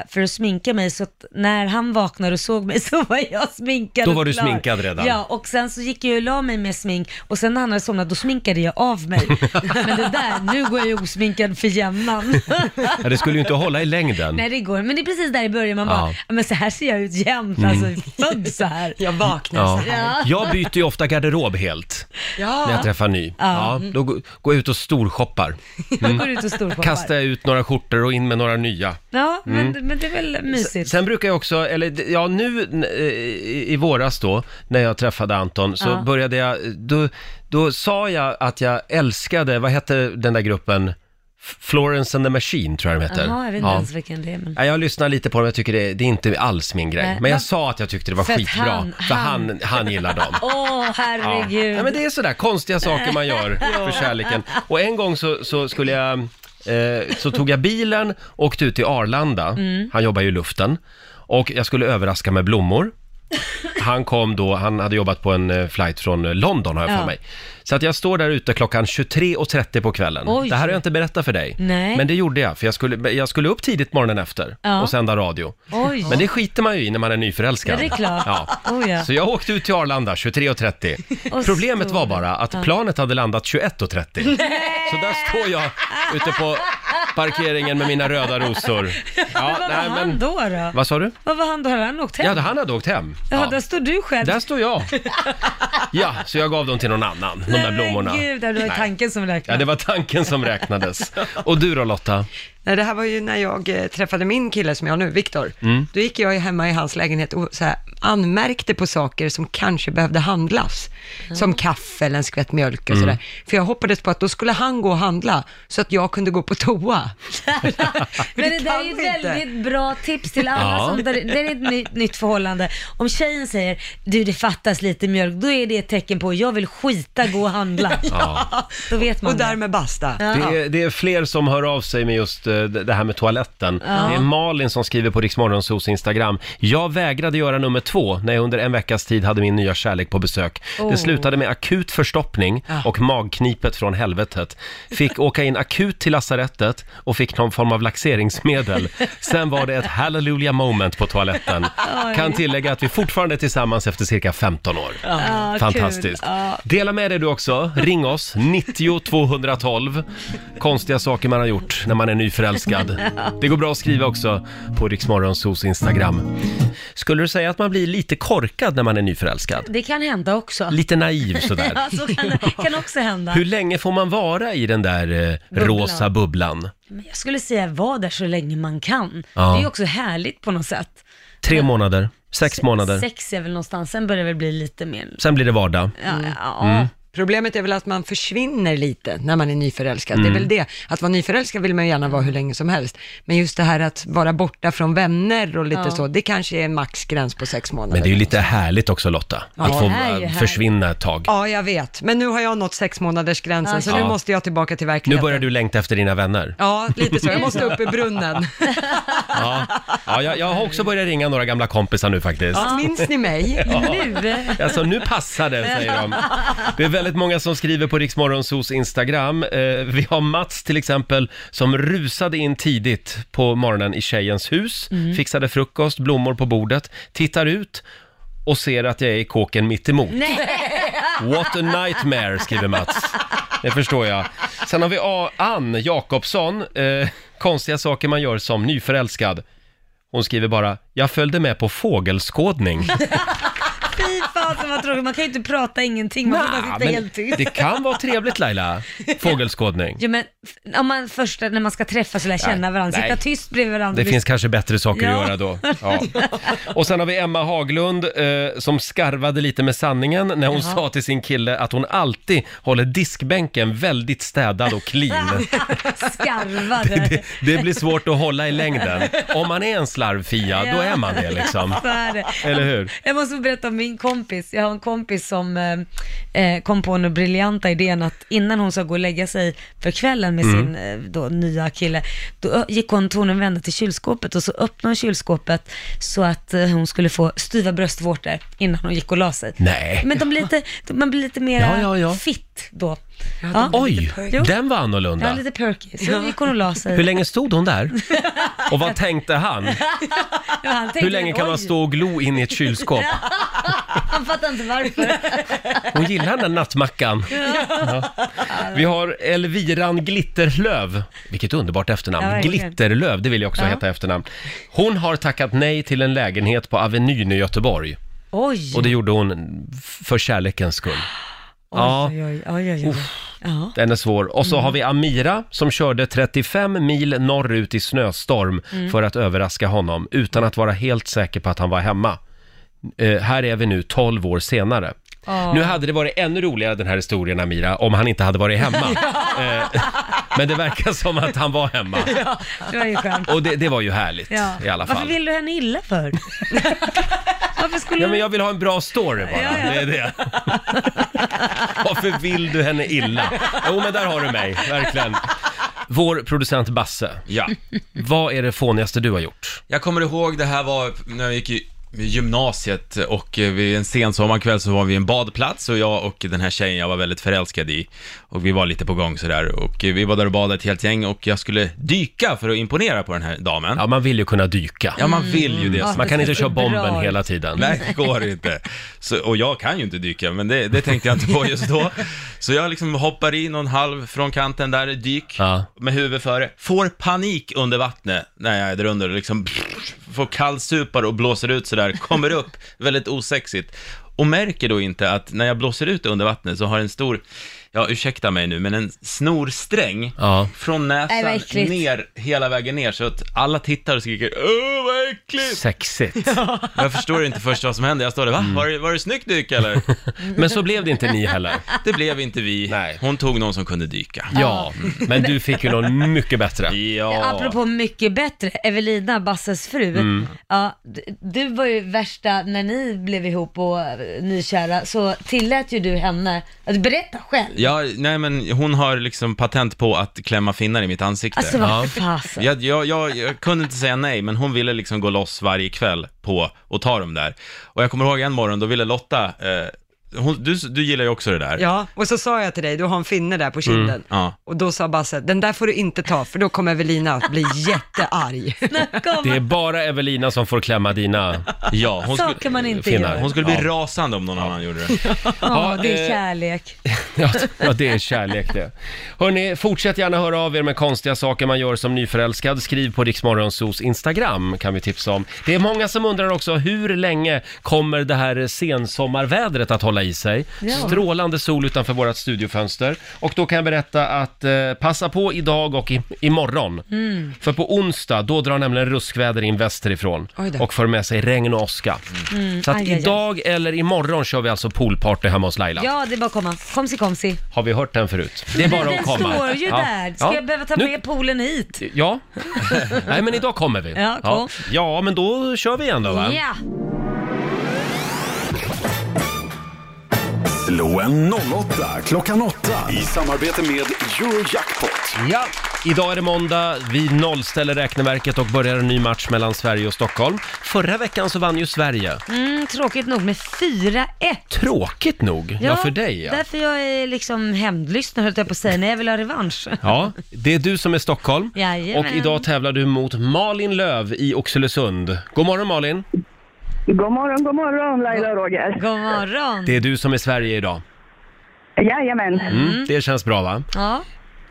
S7: eh, för att sminka mig så att när han vaknade och såg mig så var jag sminkad
S1: Då
S7: och
S1: var du
S7: klar.
S1: sminkad redan.
S7: Ja, och sen så gick jag och la mig med smink och sen när han hade somnat då sminkade jag av mig. Men det där, nu går jag ju osminkad för jämnan.
S1: Ja, det skulle ju inte hålla i längden.
S7: Nej det går men det är precis där i början man bara,
S1: Ja. Mm.
S7: "Ja, men så här ser jag ut jämt, alltså född så här.
S3: Jag vaknar
S1: Ja.
S3: så här.
S1: Jag byter ju ofta garderob helt. när jag
S3: Ja.
S1: träffar ny. Ja.
S7: Mm.
S1: då går går jag ut och storshoppar. Mm.
S7: Jag går ut och storpoppar.
S1: Kastar jag ut några skjortor och in med några nya.
S7: Ja men,
S1: Mm.
S7: men det är väl mysigt.
S1: Sen brukar jag också, eller d- ja nu n- eh, i- i våras då, när jag träffade Anton, så
S7: Ja.
S1: började jag, då, då sa jag att jag älskade, vad hette den där gruppen? F- Florence and the Machine tror jag de heter.
S7: Jaha, jag vet inte ens vilken det är men.
S1: Ja, jag lyssnar lite på dem, jag tycker det, det är inte alls min grej.
S7: Nej.
S1: Men jag
S7: Men-
S1: sa att jag tyckte det var
S7: För att
S1: skitbra,
S7: han-
S1: för han, han, gillar dem.
S7: Åh
S1: Ja.
S7: herregud.
S1: ja, men det är sådär konstiga saker man gör för kärleken. Och en gång så, så skulle jag, eh, så tog jag bilen och åkte ut till Arlanda.
S7: Mm.
S1: Han jobbar ju i luften. Och jag skulle överraska med blommor. Han kom då, han hade jobbat på en eh, flight från eh, London har jag för
S7: Ja.
S1: mig. Så att jag står där ute klockan 23.30 på kvällen.
S7: Oj.
S1: Det här har jag inte berättat för dig.
S7: Nej.
S1: Men det gjorde jag, för jag skulle, jag skulle upp tidigt morgonen efter
S7: Ja.
S1: och sända radio.
S7: Oj.
S1: Men det skiter man ju i när man är nyförälskad.
S7: Ja, det är klart.
S1: Ja.
S7: Oh, ja.
S1: Så jag åkte ut till Arlanda 23.30.
S7: Och
S1: Problemet
S7: så-
S1: var bara att planet hade landat 21.30. Så där står jag ute på, parkeringen med mina röda rosor. Ja,
S7: men vad var han då då?
S1: Vad sa du?
S7: Vad var han då? Hade han åkt hem?
S1: Ja, han hade åkt hem.
S7: Ja, där står du själv.
S1: Där står jag. Ja, så jag gav dem till någon annan, de där blommorna.
S7: Men gud, det var ju tanken som
S1: Ja,
S7: räknades.
S1: det var tanken som räknades. Och du då Lotta?
S3: Nej, det här var ju när jag eh, träffade min kille som jag har nu, Viktor.
S1: Mm.
S3: Då gick jag ju hemma i hans lägenhet och så här, anmärkte på saker som kanske behövde handlas. Som kaffe eller en skvätt mjölk
S1: Mm.
S3: och sådär. För jag hoppades på att då skulle han gå och handla så att jag kunde gå på toa.
S7: Men det där är ju
S3: kan vi
S7: ett
S3: inte.
S7: väldigt bra tips till alla
S1: Ja.
S7: som, där, där är ett ny, nytt förhållande. Om tjejen säger, du det fattas lite mjölk, då är det ett tecken på, jag vill skita, gå och handla. Då vet man
S3: Och
S7: det.
S3: därmed basta.
S1: Det är, det är fler som hör av sig med just eh, det det här med toaletten. Det är Malin som skriver på Riksmorgonsos Instagram. Jag vägrade göra nummer två när jag under en veckas tid hade min nya kärlek på besök. Det slutade med akut förstoppning och magknipet från helvetet. Fick åka in akut till lasarettet och fick någon form av laxeringsmedel. Sen var det ett hallelujah moment på toaletten. Kan tillägga att vi fortfarande är tillsammans efter cirka 15 år.
S7: Ja, Ah, kul.
S1: Fantastiskt. Dela med dig du också. Ring oss, 90 212. Konstiga saker man har gjort när man är nyförälskad. Det går bra att skriva också på Riksmorgonsos Instagram. Skulle du säga att man blir lite korkad när man är nyförälskad?
S7: Det kan hända också.
S1: Lite naiv sådär.
S7: Ja, så kan det kan också hända.
S1: Hur länge får man vara i den där eh,
S7: Bubblan.
S1: rosa bubblan?
S7: Men jag skulle säga, var där så länge man kan.
S1: Ja.
S7: Det är ju också härligt på något sätt.
S1: Tre månader, sex månader,
S7: Sex är väl någonstans, sen börjar det väl bli lite mer...
S1: sen blir det vardag.
S7: Ja, ja,
S1: Mm.
S3: Problemet är väl att man försvinner lite när man är nyförälskad.
S1: Mm.
S3: Det är väl det. Att vara nyförälskad vill man ju gärna vara hur länge som helst. Men just det här att vara borta från vänner och lite
S7: Ja.
S3: så, det kanske är en maxgräns på sex månader.
S1: Men det är ju lite härligt också Lotta, att få
S7: det är ju
S1: eh,
S7: härligt.
S1: försvinna ett tag.
S3: Ja, jag vet. Men nu har jag nått sex månaders gränsen så nu
S1: Ja.
S3: måste jag tillbaka till
S1: Nu
S3: verkligheten.
S1: börjar du längta efter dina vänner.
S3: Ja, lite så. Jag måste upp i brunnen.
S1: Ja, ja jag, jag har också börjat ringa några gamla kompisar nu faktiskt.
S3: Minns ni mig?
S7: Nu?
S1: Alltså nu passar det, säger de. Det är väldigt många som skriver på Riksmorgonsos Instagram. Eh, vi har Mats till exempel som rusade in tidigt på morgonen i tjejens hus, fixade frukost, blommor på bordet, tittar ut och ser att jag är i kåken mitt emot. What a nightmare, skriver Mats. Det förstår jag. Sen har vi A. Ann Jakobsson. Eh, konstiga saker man gör som nyförälskad. Hon skriver bara, jag följde med på fågelskådning.
S7: Fy fasen vad tråkigt, man kan ju inte prata ingenting, man får bara sitta
S1: men
S7: helt tyst.
S1: Det kan vara trevligt Laila, fågelskådning.
S7: Ja men f- om man först när man ska träffas och lära känna varandra,
S1: nej.
S7: sitta tyst bredvid varandra.
S1: Det finns kanske bättre saker
S7: Ja.
S1: att göra då. Ja. Och sen har vi Emma Haglund eh, som skarvade lite med sanningen när hon sa till sin kille att hon alltid håller diskbänken väldigt städad och clean.
S7: skarvade.
S1: Det, det blir svårt att hålla i längden. Om man är en slarvfia, då är man det liksom.
S7: Så är det.
S1: Eller hur?
S7: Jag måste berätta om min kompis. Jag har en kompis som eh, eh, kom på den briljanta idén att innan hon ska gå och lägga sig för kvällen med
S1: Mm.
S7: sin eh, då, nya kille, då ö- gick hon, tog hon en vända till kylskåpet och så öppnade hon kylskåpet så att eh, hon skulle få styva bröstvårtor innan hon gick och la sig.
S1: Nej.
S7: Men de blir lite, de, man blir lite mer
S1: Ja, ja, ja.
S7: fit då. Ja,
S1: Oj,
S7: Jo.
S1: den var
S7: Ja,
S1: annorlunda.
S7: lite perky. Så gick hon och la
S1: Hur
S7: sig.
S1: länge stod hon där? Och vad tänkte han?
S7: Ja, han tänkte,
S1: Hur länge kan man
S7: "Oj."
S1: stå och glo in i ett kylskåp?
S7: Han fattar inte varför.
S1: Hon gillar den där nattmackan. Ja. Vi har Elviran Glitterlöv. Vilket underbart
S7: Ja,
S1: efternamn.
S7: verkligen.
S1: Glitterlöv, det vill jag också
S7: Ja.
S1: heta i efternamn. Hon har tackat nej till en lägenhet på Avenyn i Göteborg.
S7: Oj.
S1: Och det gjorde hon för kärlekens skull. Ja,
S7: Oj, oj, oj, oj, oj. Ja.
S1: den är svår. Och så har
S7: Mm.
S1: vi Amira som körde 35 mil norrut i snöstorm
S7: Mm.
S1: för att överraska honom utan att vara helt säker på att han var hemma. Eh, här är vi nu 12 år senare. Nu hade det varit ännu roligare den här historien Amira, om han inte hade varit hemma. eh, men det verkar som att han var hemma.
S7: Det var ju skönt.
S1: Och det, det var ju härligt
S7: Ja.
S1: i alla fall.
S7: Varför vill du henne illa för? Varför skulle
S1: Ja,
S7: du...
S1: men jag vill ha en bra story bara. Det är det. Varför vill du henne illa? Jo, men där har du mig, verkligen. Vår producent Basse,
S5: Ja.
S1: vad är det fånigaste du har gjort?
S5: Jag kommer ihåg det här var när jag gick i gymnasiet och eh, vid en sen sommarkväll så var vi i en badplats och jag och den här tjejen jag var väldigt förälskad i och vi var lite på gång sådär och eh, vi var där och badade ett helt gäng och jag skulle dyka för att imponera på den här damen.
S1: Ja, man vill ju kunna dyka.
S5: Ja, man vill ju det.
S1: Man kan inte köra bomben hela tiden.
S5: Nej, det går inte. Så, och jag kan ju inte dyka, men det, det tänkte jag inte på just då. Så jag liksom hoppar i någon halv från kanten där, dyk,
S1: Ja.
S5: med huvudet före. Får panik under vattnet när jag är där under, och liksom får kallsupar och blåser ut sådär, kommer upp, väldigt osexigt. Och märker då inte att när jag blåser ut under vattnet så har en stor, ja ursäkta mig nu, men en snorsträng
S1: Ja.
S5: från
S7: Nej, vad
S5: näsan
S7: äckligt.
S5: ner, hela vägen ner, så att alla tittar och skriker Åh, vad äckligt! Mm.
S1: Sexigt.
S5: Och Jag förstår inte först vad som hände. Jag står där, va? Var, det, var det snyggt dyk eller?
S1: Men så blev det inte ni heller.
S5: Det blev inte vi.
S1: Nej.
S5: Hon tog någon som kunde dyka.
S1: Ja, men du fick ju någon mycket bättre.
S5: Ja.
S7: Apropå mycket bättre, Evelina, Basses fru.
S1: Mm.
S7: Ja, du, du var ju värsta, när ni blev ihop och eh, nykära, så tillät ju du henne att berätta själv.
S5: Ja, nej men hon har liksom patent på att klämma finnar i mitt ansikte.
S7: Alltså vad
S1: Ja.
S7: fasen.
S5: jag, jag, jag, jag kunde inte säga nej, men hon ville liksom gå loss varje kväll på och ta dem där. Och jag kommer ihåg en morgon, då ville Lotta, eh, hon, du, du gillar ju också det där.
S3: Ja, och så sa jag till dig, du har en finne där på kinden.
S1: Mm.
S5: ja.
S3: Och då sa Basse, den där får du inte ta, för då kommer Evelina att bli jättearg.
S1: Det är bara Evelina som får klämma dina...
S5: Ja, hon skulle,
S7: Saker man inte
S1: finnar.
S7: gör.
S5: hon skulle bli rasande om någon annan gjorde det.
S7: Ja,
S1: Ja,
S7: det är
S1: eh,
S7: kärlek.
S1: Ja, ja, det är kärlek det. Hörni, fortsätt gärna höra av er med konstiga saker man gör som nyförälskad. Skriv på Riksmorgonsos Instagram kan vi tipsa om. Det är många som undrar också, hur länge kommer det här sensommarvädret att hålla i sig? Strålande sol utanför vårt studiofönster. Och då kan jag berätta att eh, passa på idag och i, imorgon.
S7: Mm.
S1: För på onsdag, då drar nämligen ruskväder in västerifrån
S3: Oj då.
S1: och för med sig regn och åska. Så att
S7: Mm. Aj, aj, aj.
S1: idag eller imorgon kör vi alltså poolparty hemma hos Laila.
S7: Ja, det är bara att komma. Komsi, komsi.
S1: Har vi hört den förut? Det är bara
S7: den
S1: att komma.
S7: står ju där. Ska
S1: Ja.
S7: jag behöva ta
S1: Nu-
S7: med poolen hit?
S1: Ja. Nej, men idag kommer vi.
S7: Ja, kom.
S1: ja. ja, men då kör vi igen då, va?
S7: Ja.
S4: Slå en 08 klockan 8 i samarbete med Eurojackpot.
S1: Ja, idag är det måndag. Vi nollställer räkneverket och börjar en ny match mellan Sverige och Stockholm. Förra veckan så vann ju Sverige.
S7: Mm, tråkigt nog med 4-1.
S1: Tråkigt nog. Ja, för dig ja.
S7: Därför jag är liksom hämndlysten höll jag på att säga, när jag vill ha revansch.
S1: Ja, det är du som är Stockholm.
S7: Jajamän.
S1: Och idag tävlar du mot Malin Löv i Oxelösund. God morgon Malin!
S10: God morgon, god morgon Laila och Roger.
S7: God morgon.
S1: Det är du som är Sverige idag.
S10: Jajamän.
S1: Mm, Det känns bra va?
S7: Ja.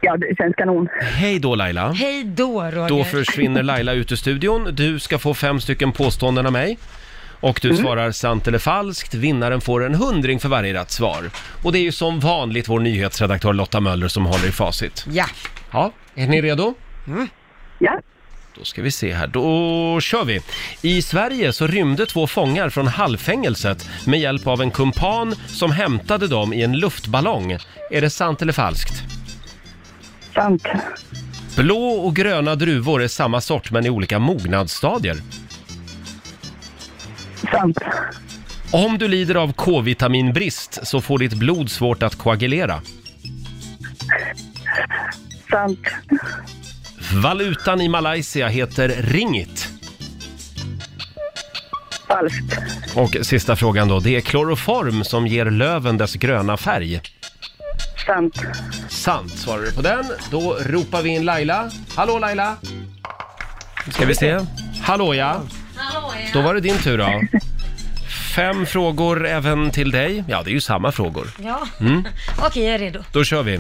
S10: Ja, det känns kanon.
S1: Hej då Laila!
S7: Hej då Roger.
S1: Då försvinner Laila ut ur studion. Du ska få fem stycken påståenden av mig. Och
S7: Mm.
S1: du svarar sant eller falskt. Vinnaren får en hundring för varje rätt svar. Och det är ju som vanligt vår nyhetsredaktör Lotta Möller som håller i facit.
S3: ja,
S1: Ja, är ni redo?
S7: Mm.
S10: Ja.
S1: Då ska vi se här, då kör vi! I Sverige så rymde två fångar från Hallfängelset med hjälp av en kumpan som hämtade dem i en luftballong. Är det sant eller falskt?
S10: Sant.
S1: Blå och gröna druvor är samma sort men i olika mognadsstadier.
S10: Sant.
S1: Om du lider av K-vitaminbrist så får ditt blod svårt att koagulera.
S10: Sant.
S1: Valutan i Malaysia heter ringit.
S10: Falskt.
S1: Och sista frågan då, det är kloroform som ger löven dess gröna färg.
S10: Sant.
S1: Sant svarar du på den. Då ropar vi in Laila. Hallå Laila! Nu ska vi se. Hallå ja! Då var det din tur då. Fem frågor även till dig. Ja, det är ju samma frågor.
S7: Ja.
S1: Mm.
S7: Okej, jag är redo.
S1: Då kör vi.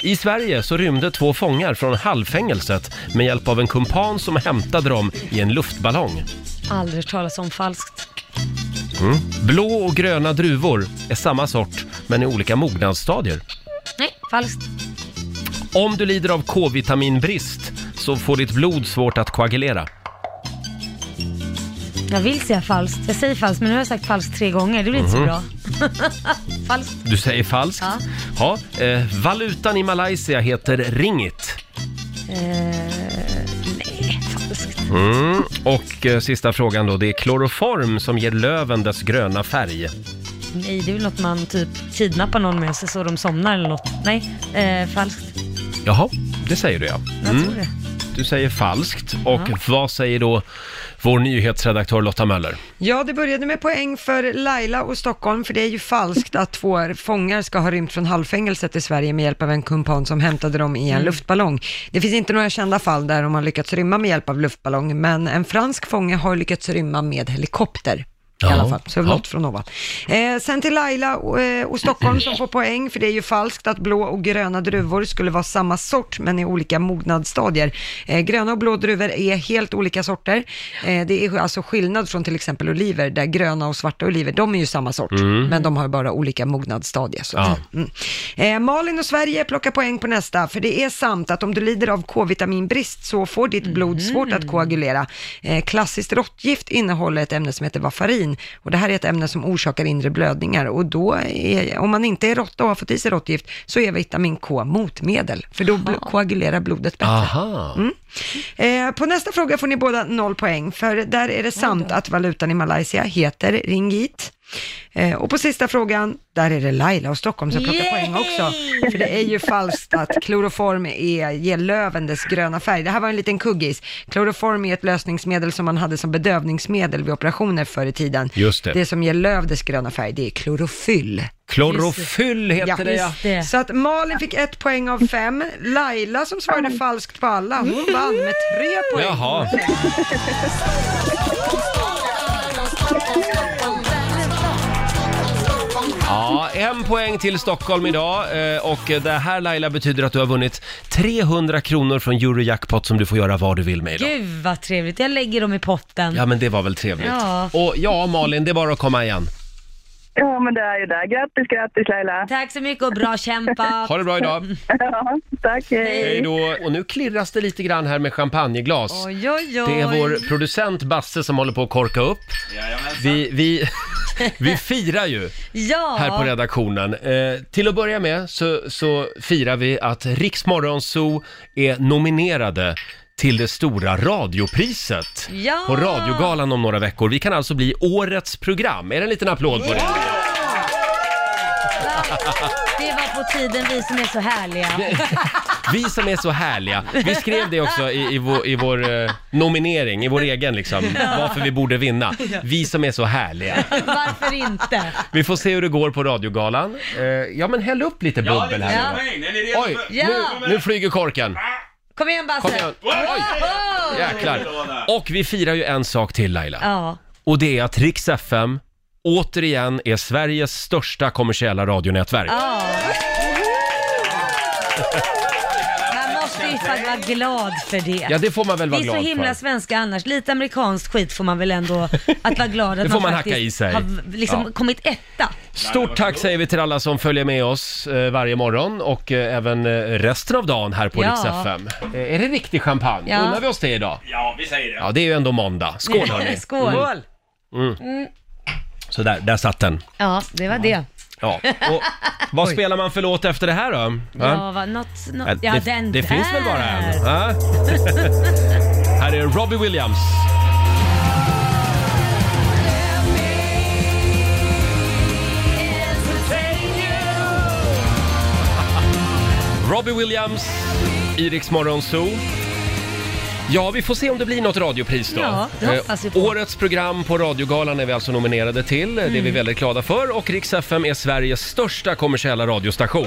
S1: I Sverige så rymde två fångar från halvfängelset med hjälp av en kumpan som hämtade dem i en luftballong.
S7: Aldrig hört talas om falskt.
S1: Blå och gröna druvor är samma sort, men i olika mognadsstadier.
S7: Nej, falskt.
S1: Om du lider av K-vitaminbrist så får ditt blod svårt att koagulera.
S7: Jag vill säga falskt. Jag säger falskt, men nu har jag sagt falskt tre gånger. Det blir
S1: Mhm.
S7: inte så bra. falskt.
S1: Du säger falskt. Ja. eh, valutan i Malaysia heter ringit.
S7: Eh, nej, falskt.
S1: Mm. Och eh, sista frågan då, det är kloroform som ger löven dess gröna färg.
S7: Nej, det är väl något man typ kidnappar någon med sig så de somnar eller något. Nej, eh, falskt.
S1: Jaha, det säger du ja.
S7: Jag tror det.
S1: Du säger falskt. Och vad säger då vår nyhetsredaktör Lotta Möller?
S3: Ja, det började med poäng för Laila och Stockholm, för det är ju falskt att två fångar ska ha rymt från halvfängelset i Sverige med hjälp av en kumpan som hämtade dem i en
S2: Mm.
S3: luftballong. Det finns inte några kända fall där de har lyckats rymma med hjälp av luftballong, men en fransk fånge har lyckats rymma med helikopter. I
S2: Ja.
S3: alla fall, så
S2: Ja.
S3: något från ovan. Eh, sen till Laila och, eh, och Stockholm som får poäng, för det är ju falskt att blå och gröna druvor skulle vara samma sort, men i olika mognadsstadier. Eh, gröna och blå druvor är helt olika sorter. Eh, det är alltså skillnad från till exempel oliver, där gröna och svarta oliver, de är ju samma sort,
S2: Mm.
S3: men de har bara olika mognadsstadier. Så.
S2: Ja.
S3: Mm. Eh, Malin och Sverige plockar poäng på nästa, för det är sant att om du lider av K-vitaminbrist så får ditt blod svårt att koagulera. Eh, klassiskt råttgift innehåller ett ämne som heter Vafarin och det här är ett ämne som orsakar inre blödningar och då, är, om man inte är råtta och har fått i sig råttgift, så är vitamin K motmedel, för då bl- koagulerar blodet bättre.
S1: Aha.
S3: Mm. Eh, på nästa fråga får ni båda noll poäng, för där är det sant att valutan i Malaysia heter ringgit. Eh, och på sista frågan, där är det Laila och Stockholm som plockar
S2: Yay!
S3: poäng också. För det är ju falskt att kloroform är, ger löven dess gröna färg. Det här var en liten kuggis. Kloroform är ett lösningsmedel som man hade som bedövningsmedel vid operationer förr i tiden.
S1: Just det.
S3: Det som ger löv dess gröna färg, det är klorofyll.
S1: Klorofyll heter det, ja. Just det.
S3: Så att Malin fick ett poäng av fem. Laila som svarade falskt på alla, hon vann med tre poäng.
S1: Jaha. Ja, en poäng till Stockholm idag eh, och det här Laila betyder att du har vunnit 300 kronor från Eurojackpot som du får göra vad du vill med idag.
S7: Gud vad trevligt, jag lägger dem i potten.
S1: Ja men det var väl trevligt.
S7: Ja.
S1: Och ja Malin, det är bara att komma igen.
S7: Ja, men det är ju där. Grattis, grattis Laila. Tack så mycket och bra kämpat.
S1: Ha det bra idag.
S7: Ja, tack,
S1: Hej då. Och nu klirras det lite grann här med champagneglas.
S7: Oj, oj, oj.
S1: Det är vår producent Basse som håller på att korka upp. Vi, vi, vi firar ju
S7: Ja.
S1: här på redaktionen. Eh, till att börja med så, så firar vi att Riks Morgonzoo är nominerade till det stora radiopriset
S7: Ja.
S1: på Radiogalan om några veckor. Vi kan alltså bli årets program. Är det en liten applåd på det?
S7: Det var på tiden vi som är så härliga.
S1: Vi som är så härliga. Vi skrev det också i, i vår, i vår eh, nominering, i vår egen liksom,
S7: Ja.
S1: varför vi borde vinna.
S7: Ja.
S1: Vi som är så härliga.
S7: Varför inte?
S1: Vi får se hur det går på radiogalan. Eh, ja, men häll upp lite bubbel här nu då. Oj,
S7: Ja.
S1: nu, nu flyger korken.
S7: Kom igen Basse.
S1: Kom igen. Oj.
S7: Wow.
S1: Jäklar. Och vi firar ju en sak till Laila.
S7: Ja.
S1: Och det är att Rix FM återigen är Sveriges största kommersiella radionätverk.
S7: Ja. Man måste ju faktiskt vara glad för det.
S1: Ja, det får man väl vara
S7: Vi är
S1: glad
S7: så himla
S1: för.
S7: svenska annars. Lite amerikansk skit får man väl ändå att vara glad att
S1: Det får man
S7: faktiskt
S1: hacka i sig.
S7: har v- liksom
S1: Ja.
S7: kommit etta.
S1: Stort tack säger vi till alla som följer med oss eh, varje morgon och eh, även eh, resten av dagen här på
S7: Ja.
S1: Rix FM. Eh, är det riktig champagne?
S7: Ja.
S1: Unnar vi oss det idag?
S5: Ja, vi säger det.
S1: Ja, det är ju ändå måndag. Skål hörni!
S7: Skål.
S1: Mm. Mm.
S7: Mm.
S1: Så där, där satt den.
S7: Ja, det var det.
S1: Ja. Och vad spelar man för låt efter det här då? Va?
S7: Ja, va, något, något, ja
S1: Äh, det
S7: den
S1: det
S7: där.
S1: finns väl bara en? Va? här är Robbie Williams. Robbie Williams, Iriks Morgonzoo. Ja, vi får se om det blir något radiopris då. Eh,
S7: Ja, det hoppas vi på.
S1: årets program på Radiogalan är vi alltså nominerade till. Det är vi
S7: Mm.
S1: väldigt glada för. Och Rix FM är Sveriges största kommersiella radiostation.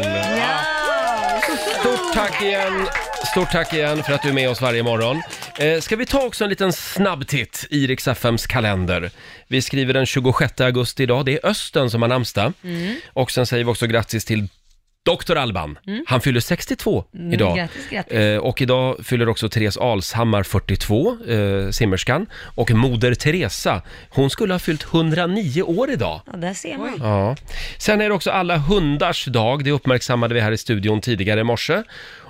S1: Stort tack igen. Stort tack igen för att du är med oss varje morgon. Eh, ska vi ta också en liten snabb titt i Rix FMs kalender? Vi skriver den 26 augusti idag. Det är Östen som har namnsdag.
S7: Mm.
S1: Och sen säger vi också grattis till Dr. Alban.
S7: Mm.
S1: Han fyller 62
S7: Mm,
S1: idag.
S7: grattis, grattis.
S1: Eh, och idag fyller också Therese Alshammar 42, eh, simmerskan. Och Moder Teresa, hon skulle ha fyllt 109 år idag.
S7: Ja, där ser man.
S1: Ja. Sen är det också alla hundars dag. Det uppmärksammade vi här i studion tidigare i morse.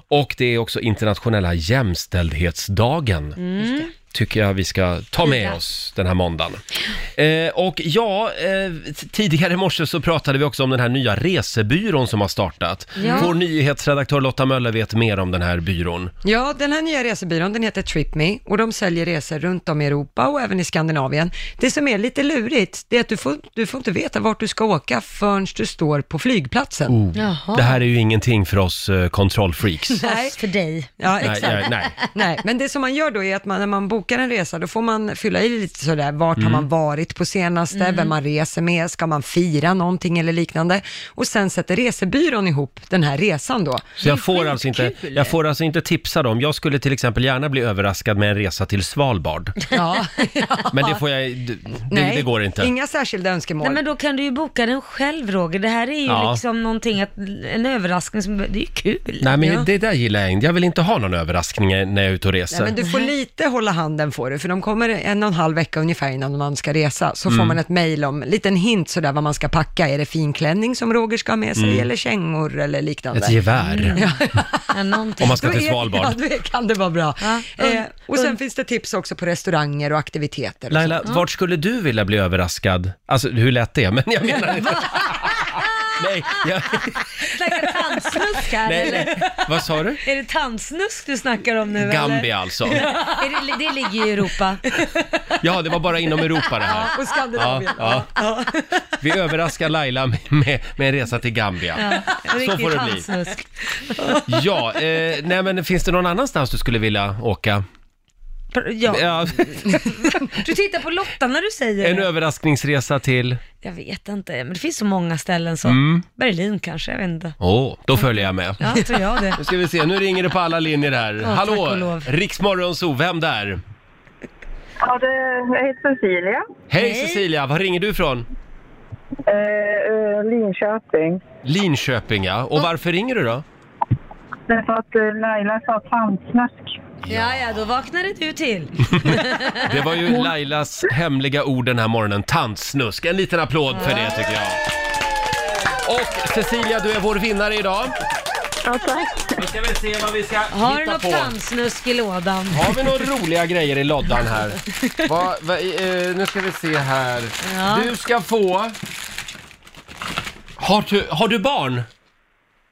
S1: Och det är också internationella jämställdhetsdagen.
S7: Mm.
S1: tycker jag vi ska ta med
S2: Ja.
S1: oss den här måndagen. Eh, och ja, eh, t- tidigare i morse så pratade vi också om den här nya resebyrån som har startat.
S3: Ja.
S1: Vår nyhetsredaktör Lotta Möller vet mer om den här byrån.
S3: Ja, den här nya resebyrån den heter TripMe och de säljer resor runt om i Europa och även i Skandinavien. Det som är lite lurigt, det är att du får, du får inte veta vart du ska åka förrän du står på flygplatsen.
S1: Oh. Det här är ju ingenting för oss eh, kontrollfreaks.
S3: Nej.
S7: för dig.
S3: Ja,
S1: Nej,
S3: exakt.
S1: nej, nej.
S3: Nej, men det som man gör då är att man, när man bokar en resa, då får man fylla i lite sådär, vart
S1: Mm.
S3: har man varit på senaste, vem man reser med, ska man fira någonting eller liknande? Och sen sätter resebyrån ihop den här resan då.
S1: Så jag får, alltså inte, jag får alltså inte tipsa dem. Jag skulle till exempel gärna bli överraskad med en resa till Svalbard.
S3: Ja.
S1: Men det får jag, det, det går inte.
S3: inga särskilda önskemål.
S7: Nej, men då kan du ju boka den själv Roger. Det här är ju
S1: Ja.
S7: liksom någonting, att, en överraskning som, det är ju kul.
S1: Nej men
S7: Ja.
S1: det där gillar jag inte. Jag vill inte ha någon överraskning när jag är ute och
S3: Nej,
S1: reser.
S3: men du får lite hålla handen får du, för de kommer en och en halv vecka ungefär innan man ska resa, så får
S1: Mm.
S3: man ett mejl om, en liten hint sådär vad man ska packa. Är det finklänning som Roger ska ha med sig,
S1: Mm.
S3: eller kängor eller liknande?
S1: Ett gevär. Om man ska till
S3: Då är-
S1: Svalbard.
S3: Ja, det kan det vara bra. eh, och sen
S7: und-
S3: finns det tips också på restauranger och aktiviteter. och
S1: Laila,
S3: sånt.
S1: vart skulle du vilja bli överraskad? Alltså hur lätt det är, men jag menar inte... Nej, jag,
S7: Snackar tandsnusk här
S1: nej,
S7: eller?
S1: nej. Vad sa du?
S7: Är det tandsnusk du snackar om nu eller?
S1: Gambia alltså.
S7: Är det, det ligger ju i Europa.
S1: Ja, det var bara inom Europa det här.
S7: Ja, och Skandinavien.
S1: Ja, ja. Vi överraskar Laila med, med med en resa till Gambia. Så får det bli.
S7: tandsnusk.
S1: Ja, eh, nej men finns det någon annanstans du skulle vilja åka?
S7: Ja.
S1: Ja,
S7: Du tittar på Lotta när du säger
S1: en
S7: det.
S1: överraskningsresa till...
S7: Jag vet inte, men det finns så många ställen så.
S1: Mm.
S7: Berlin kanske, jag vet inte.
S1: Åh, då följer jag med.
S7: Ja, tror jag det.
S1: Nu ska vi se, nu ringer det på alla linjer här.
S7: Ja, tack och
S1: Hallå,
S7: lov.
S1: Riksmorgonzoo, vem där?
S10: Ja, det, jag heter Cecilia.
S1: Hej Cecilia, var ringer du ifrån?
S10: Eh, eh, Linköping.
S1: Linköping ja, och varför ringer du då?
S10: Därför att eh, Laila sa tandsnusk.
S7: Ja, ja, då vaknade du till.
S1: Det var ju Lailas hemliga ord den här morgonen, tandsnusk. En liten applåd för det tycker jag. Och Cecilia, du är vår vinnare idag.
S10: Ja, tack.
S1: Nu ska vi se vad vi ska
S7: Har du
S1: hitta
S7: något
S1: på.
S7: tandsnusk i lådan?
S1: Har vi några roliga grejer i loddan här? Va, va, eh, nu ska vi se här.
S7: Ja.
S1: Du ska få... Har du, har du barn?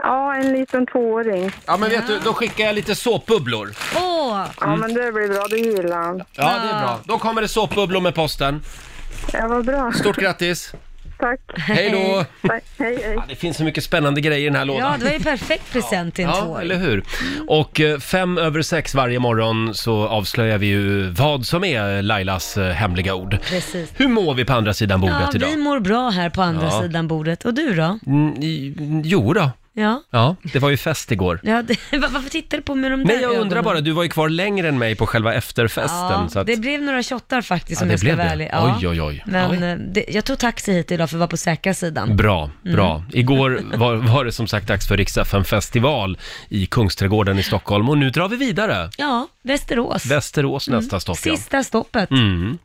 S10: Ja, en liten tvååring.
S1: Ja men vet du, då skickar jag lite såpbubblor.
S7: Åh!
S10: Ja, men det blir bra. Det gillar han.
S1: Ja, det är bra. Då kommer det såpbubblor med posten.
S10: Ah. Ja, vad bra.
S1: Stort grattis!
S10: Tack.
S1: Hej då!
S10: Tack. Hej, hej.
S1: Det finns så mycket spännande grejer i den här
S7: Ja,
S1: lådan.
S7: det var ju perfekt present till en
S1: Ja,
S7: tvååring.
S1: eller hur? Och eh, fem över sex varje morgon så avslöjar vi ju vad som är Lailas eh, hemliga ord.
S7: Precis.
S1: Hur mår vi på andra sidan bordet
S7: Ja,
S1: idag?
S7: vi mår bra här på andra
S1: Ja.
S7: sidan bordet. Och du då?
S1: Mm, i- jo då.
S7: Ja.
S1: Ja, det var ju fest igår.
S7: ja det, var- varför tittar du på mig med de där
S1: Nej, jag undrar
S7: ögonen?
S1: bara, du var ju kvar längre än mig på själva efterfesten.
S7: Ja,
S1: så att,
S7: det blev några shottar faktiskt
S1: Ja,
S7: om
S1: det
S7: jag ska
S1: blev
S7: vara
S1: det.
S7: ärlig.
S1: Oj, oj, oj.
S7: Men
S1: Oj.
S7: eh, Det, jag tog taxi hit idag för att vara på säkra sidan.
S1: Bra, bra. Igår var, var det som sagt dags för riksdagen festival i Kungsträdgården i Stockholm och nu drar vi vidare.
S7: Ja, Västerås.
S1: Västerås nästa stopp ja.
S7: Sista stoppet.
S1: Mm.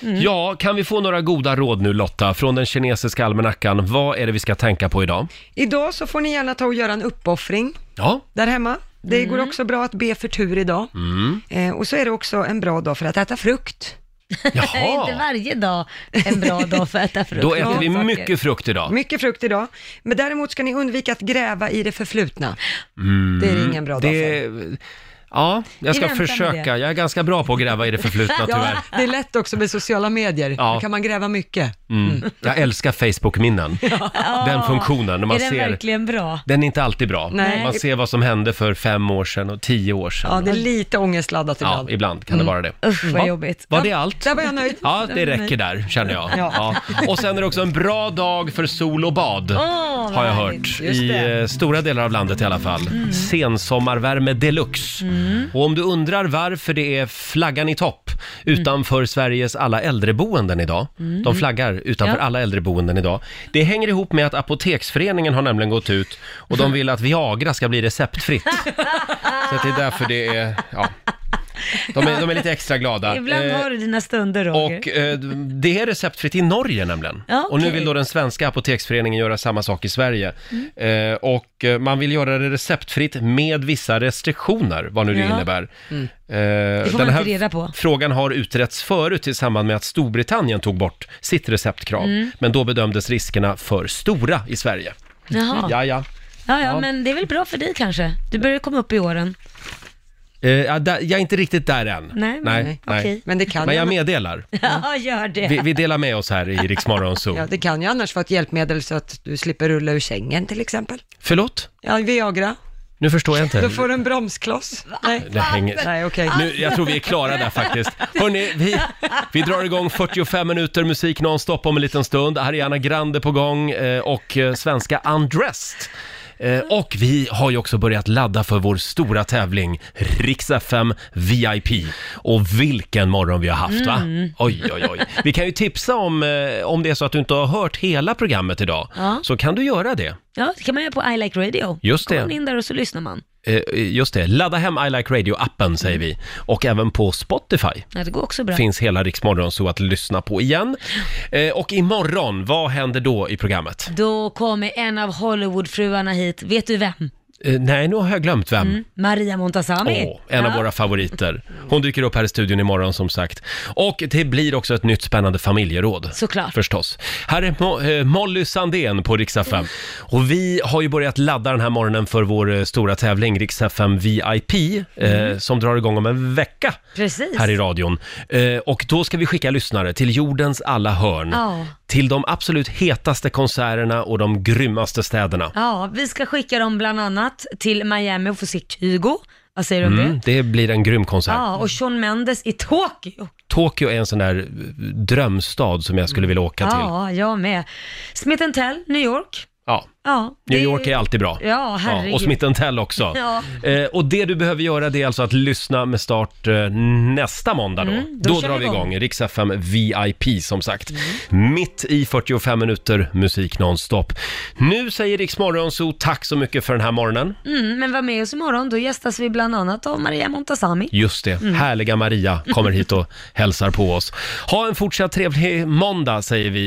S1: Ja, kan vi få några goda råd nu Lotta från den kinesiska almanackan? Vad är det vi ska tänka på idag?
S3: Idag så får ni gärna ta och göra en uppoffring
S1: Ja.
S3: där hemma. Det
S7: Mm.
S3: går också bra att be för tur idag.
S1: Mm.
S3: Eh, och så är det också en bra dag för att äta frukt.
S7: Det är inte
S1: Jaha,
S7: varje dag en bra dag för att äta frukt.
S1: då äter
S7: och
S1: vi
S7: grönsaker.
S1: mycket frukt idag.
S3: Mycket frukt idag. Men däremot ska ni undvika att gräva i det förflutna.
S1: Mm.
S3: Det är ingen bra dag för.
S1: Det... Ja, jag
S7: Vi
S1: ska
S7: väntar med
S1: försöka. Jag är ganska bra på att gräva i det förflutna tyvärr.
S3: Ja, det är lätt också med sociala medier.
S1: Ja.
S3: Där kan man gräva mycket.
S1: Mm. Jag älskar Facebook-minnen. Den funktionen. När man
S7: är den
S1: ser...
S7: verkligen bra?
S1: Den är inte alltid bra.
S3: Nej.
S1: Man ser vad som hände för fem år sedan och tio år sedan.
S3: Ja, det är lite ångestladdat
S1: Ja,
S3: ibland.
S1: ibland kan det vara det.
S7: Mm. Usch vad
S1: Ja.
S7: jobbigt.
S1: Var det allt?
S3: Där var jag nöjd.
S1: Ja, det räcker där, känner jag. Ja.
S3: Ja.
S1: Och sen är det också en bra dag för sol och bad,
S7: vad
S1: har jag
S7: härligt. Mm.
S1: hört.
S3: Just
S1: I
S3: det.
S1: eh, stora delar av landet i alla fall. Sensommarvärme deluxe. Och om du undrar varför det är flaggan i topp utanför
S7: Mm.
S1: Sveriges alla äldreboenden idag. De flaggar utanför
S7: Ja.
S1: alla äldreboenden idag. Det hänger ihop med att Apoteksföreningen har nämligen gått ut och de vill att Viagra ska bli receptfritt. Så att det är därför det är, ja. De är, de är lite extra glada.
S7: Ibland
S1: Eh,
S7: har du dina stunder Roger.
S1: Och eh, det är receptfritt i Norge nämligen.
S7: Ja,
S1: Och nu
S7: okej.
S1: vill då den svenska apoteksföreningen göra samma sak i Sverige.
S7: Mm.
S1: Eh, och eh, man vill göra det receptfritt med vissa restriktioner, vad nu det
S7: Ja.
S1: innebär.
S7: Mm.
S1: Eh,
S7: Det får
S1: den
S7: man
S1: här
S7: inte reda på.
S1: frågan har utretts förut i samband med att Storbritannien tog bort sitt receptkrav.
S7: Mm.
S1: Men då bedömdes riskerna för stora i Sverige.
S7: Jaha.
S1: Ja, ja.
S7: Ja,
S1: Ja.
S7: ja, men det är väl bra för dig kanske? Du börjar komma upp i åren.
S1: Eh, ja, där, jag är inte riktigt där än.
S7: Nej, men-
S1: nej,
S7: nej, okej. Men det kan
S1: Men
S7: jag
S1: jag
S7: nog-
S1: meddelar.
S7: Ja, gör det.
S1: Vi, vi delar med oss här i Riksmorgon Zoo.
S3: Ja, det kan ju annars vara ett hjälpmedel så att du slipper rulla ur sängen till exempel.
S1: Förlåt?
S3: Ja, Viagra.
S1: Nu förstår jag inte.
S3: Då får du en bromskloss. Nej,
S1: Det hänger...
S3: Nej, okej.
S1: nu, jag tror vi är klara där faktiskt. Hörrni, vi, vi drar igång 45 minuter musik nonstop om en liten stund. Ariana Grande på gång eh, och eh, svenska Undressed. Eh, Och vi har ju också börjat ladda för vår stora tävling, Rix FM VIP. Och vilken morgon vi har haft va?
S7: Mm.
S1: Oj, oj, oj. Vi kan ju tipsa om, eh, om det är så att du inte har hört hela programmet idag,
S7: Ja.
S1: så kan du göra det.
S7: Ja, det kan man göra på I Like Radio.
S1: Just
S7: Går
S1: det.
S7: man in där och så lyssnar man.
S1: Eh, Just det, ladda hem I Like Radio-appen säger vi. Och även på Spotify.
S7: Ja, det går också bra.
S1: finns hela Riksmorgon så att lyssna på igen. Eh, och imorgon, vad händer då i programmet?
S7: Då kommer en av Hollywoodfruarna hit. Vet du vem?
S1: Eh, nej, nu har jag glömt vem.
S7: Mm. Maria Montazami.
S1: Åh, en av
S7: Ja.
S1: våra favoriter. Hon dyker upp här i studion imorgon som sagt. Och det blir också ett nytt spännande familjeråd.
S7: Såklart.
S1: Förstås. Här är Mo- eh, Molly Sandén på Rix FM. Och vi har ju börjat ladda den här morgonen för vår eh, stora tävling Rix FM VIP eh,
S7: Mm.
S1: som drar igång om en vecka.
S7: Precis.
S1: här i radion. Eh, och då ska vi skicka lyssnare till jordens alla hörn.
S7: Ja.
S1: Till de absolut hetaste konserterna och de grymmaste städerna.
S7: Ja, vi ska skicka dem bland annat till Miami och få se Kygo. Vad säger du om
S1: Mm,
S7: det?
S1: det blir en grym konsert.
S7: Ja, och Shawn Mendes i Tokyo.
S1: Tokyo är en sån där eh, drömstad som jag skulle vilja åka till.
S7: Ja, jag med. Smith Tell, New York.
S1: Ja.
S7: Ja, det
S1: New
S7: är ju-
S1: York är alltid bra.
S7: Ja, herregud.
S1: och Smith Tell också.
S7: Ja.
S1: Eh, och det du behöver göra det är alltså att lyssna med start eh, nästa måndag då.
S7: Mm,
S1: då
S7: då kör
S1: drar vi
S7: vi
S1: igång
S7: igång. Mm.
S1: Rix FM VIP som sagt. Mitt i 45 minuter musik nonstop. Nu säger Rix Morgon Zoo tack så mycket för den här morgonen.
S7: Mm, men var med oss imorgon, då gästas vi bland annat av Maria Montazami.
S1: Just det,
S7: Mm.
S1: härliga Maria kommer hit och hälsar på oss. Ha en fortsatt trevlig måndag säger vi.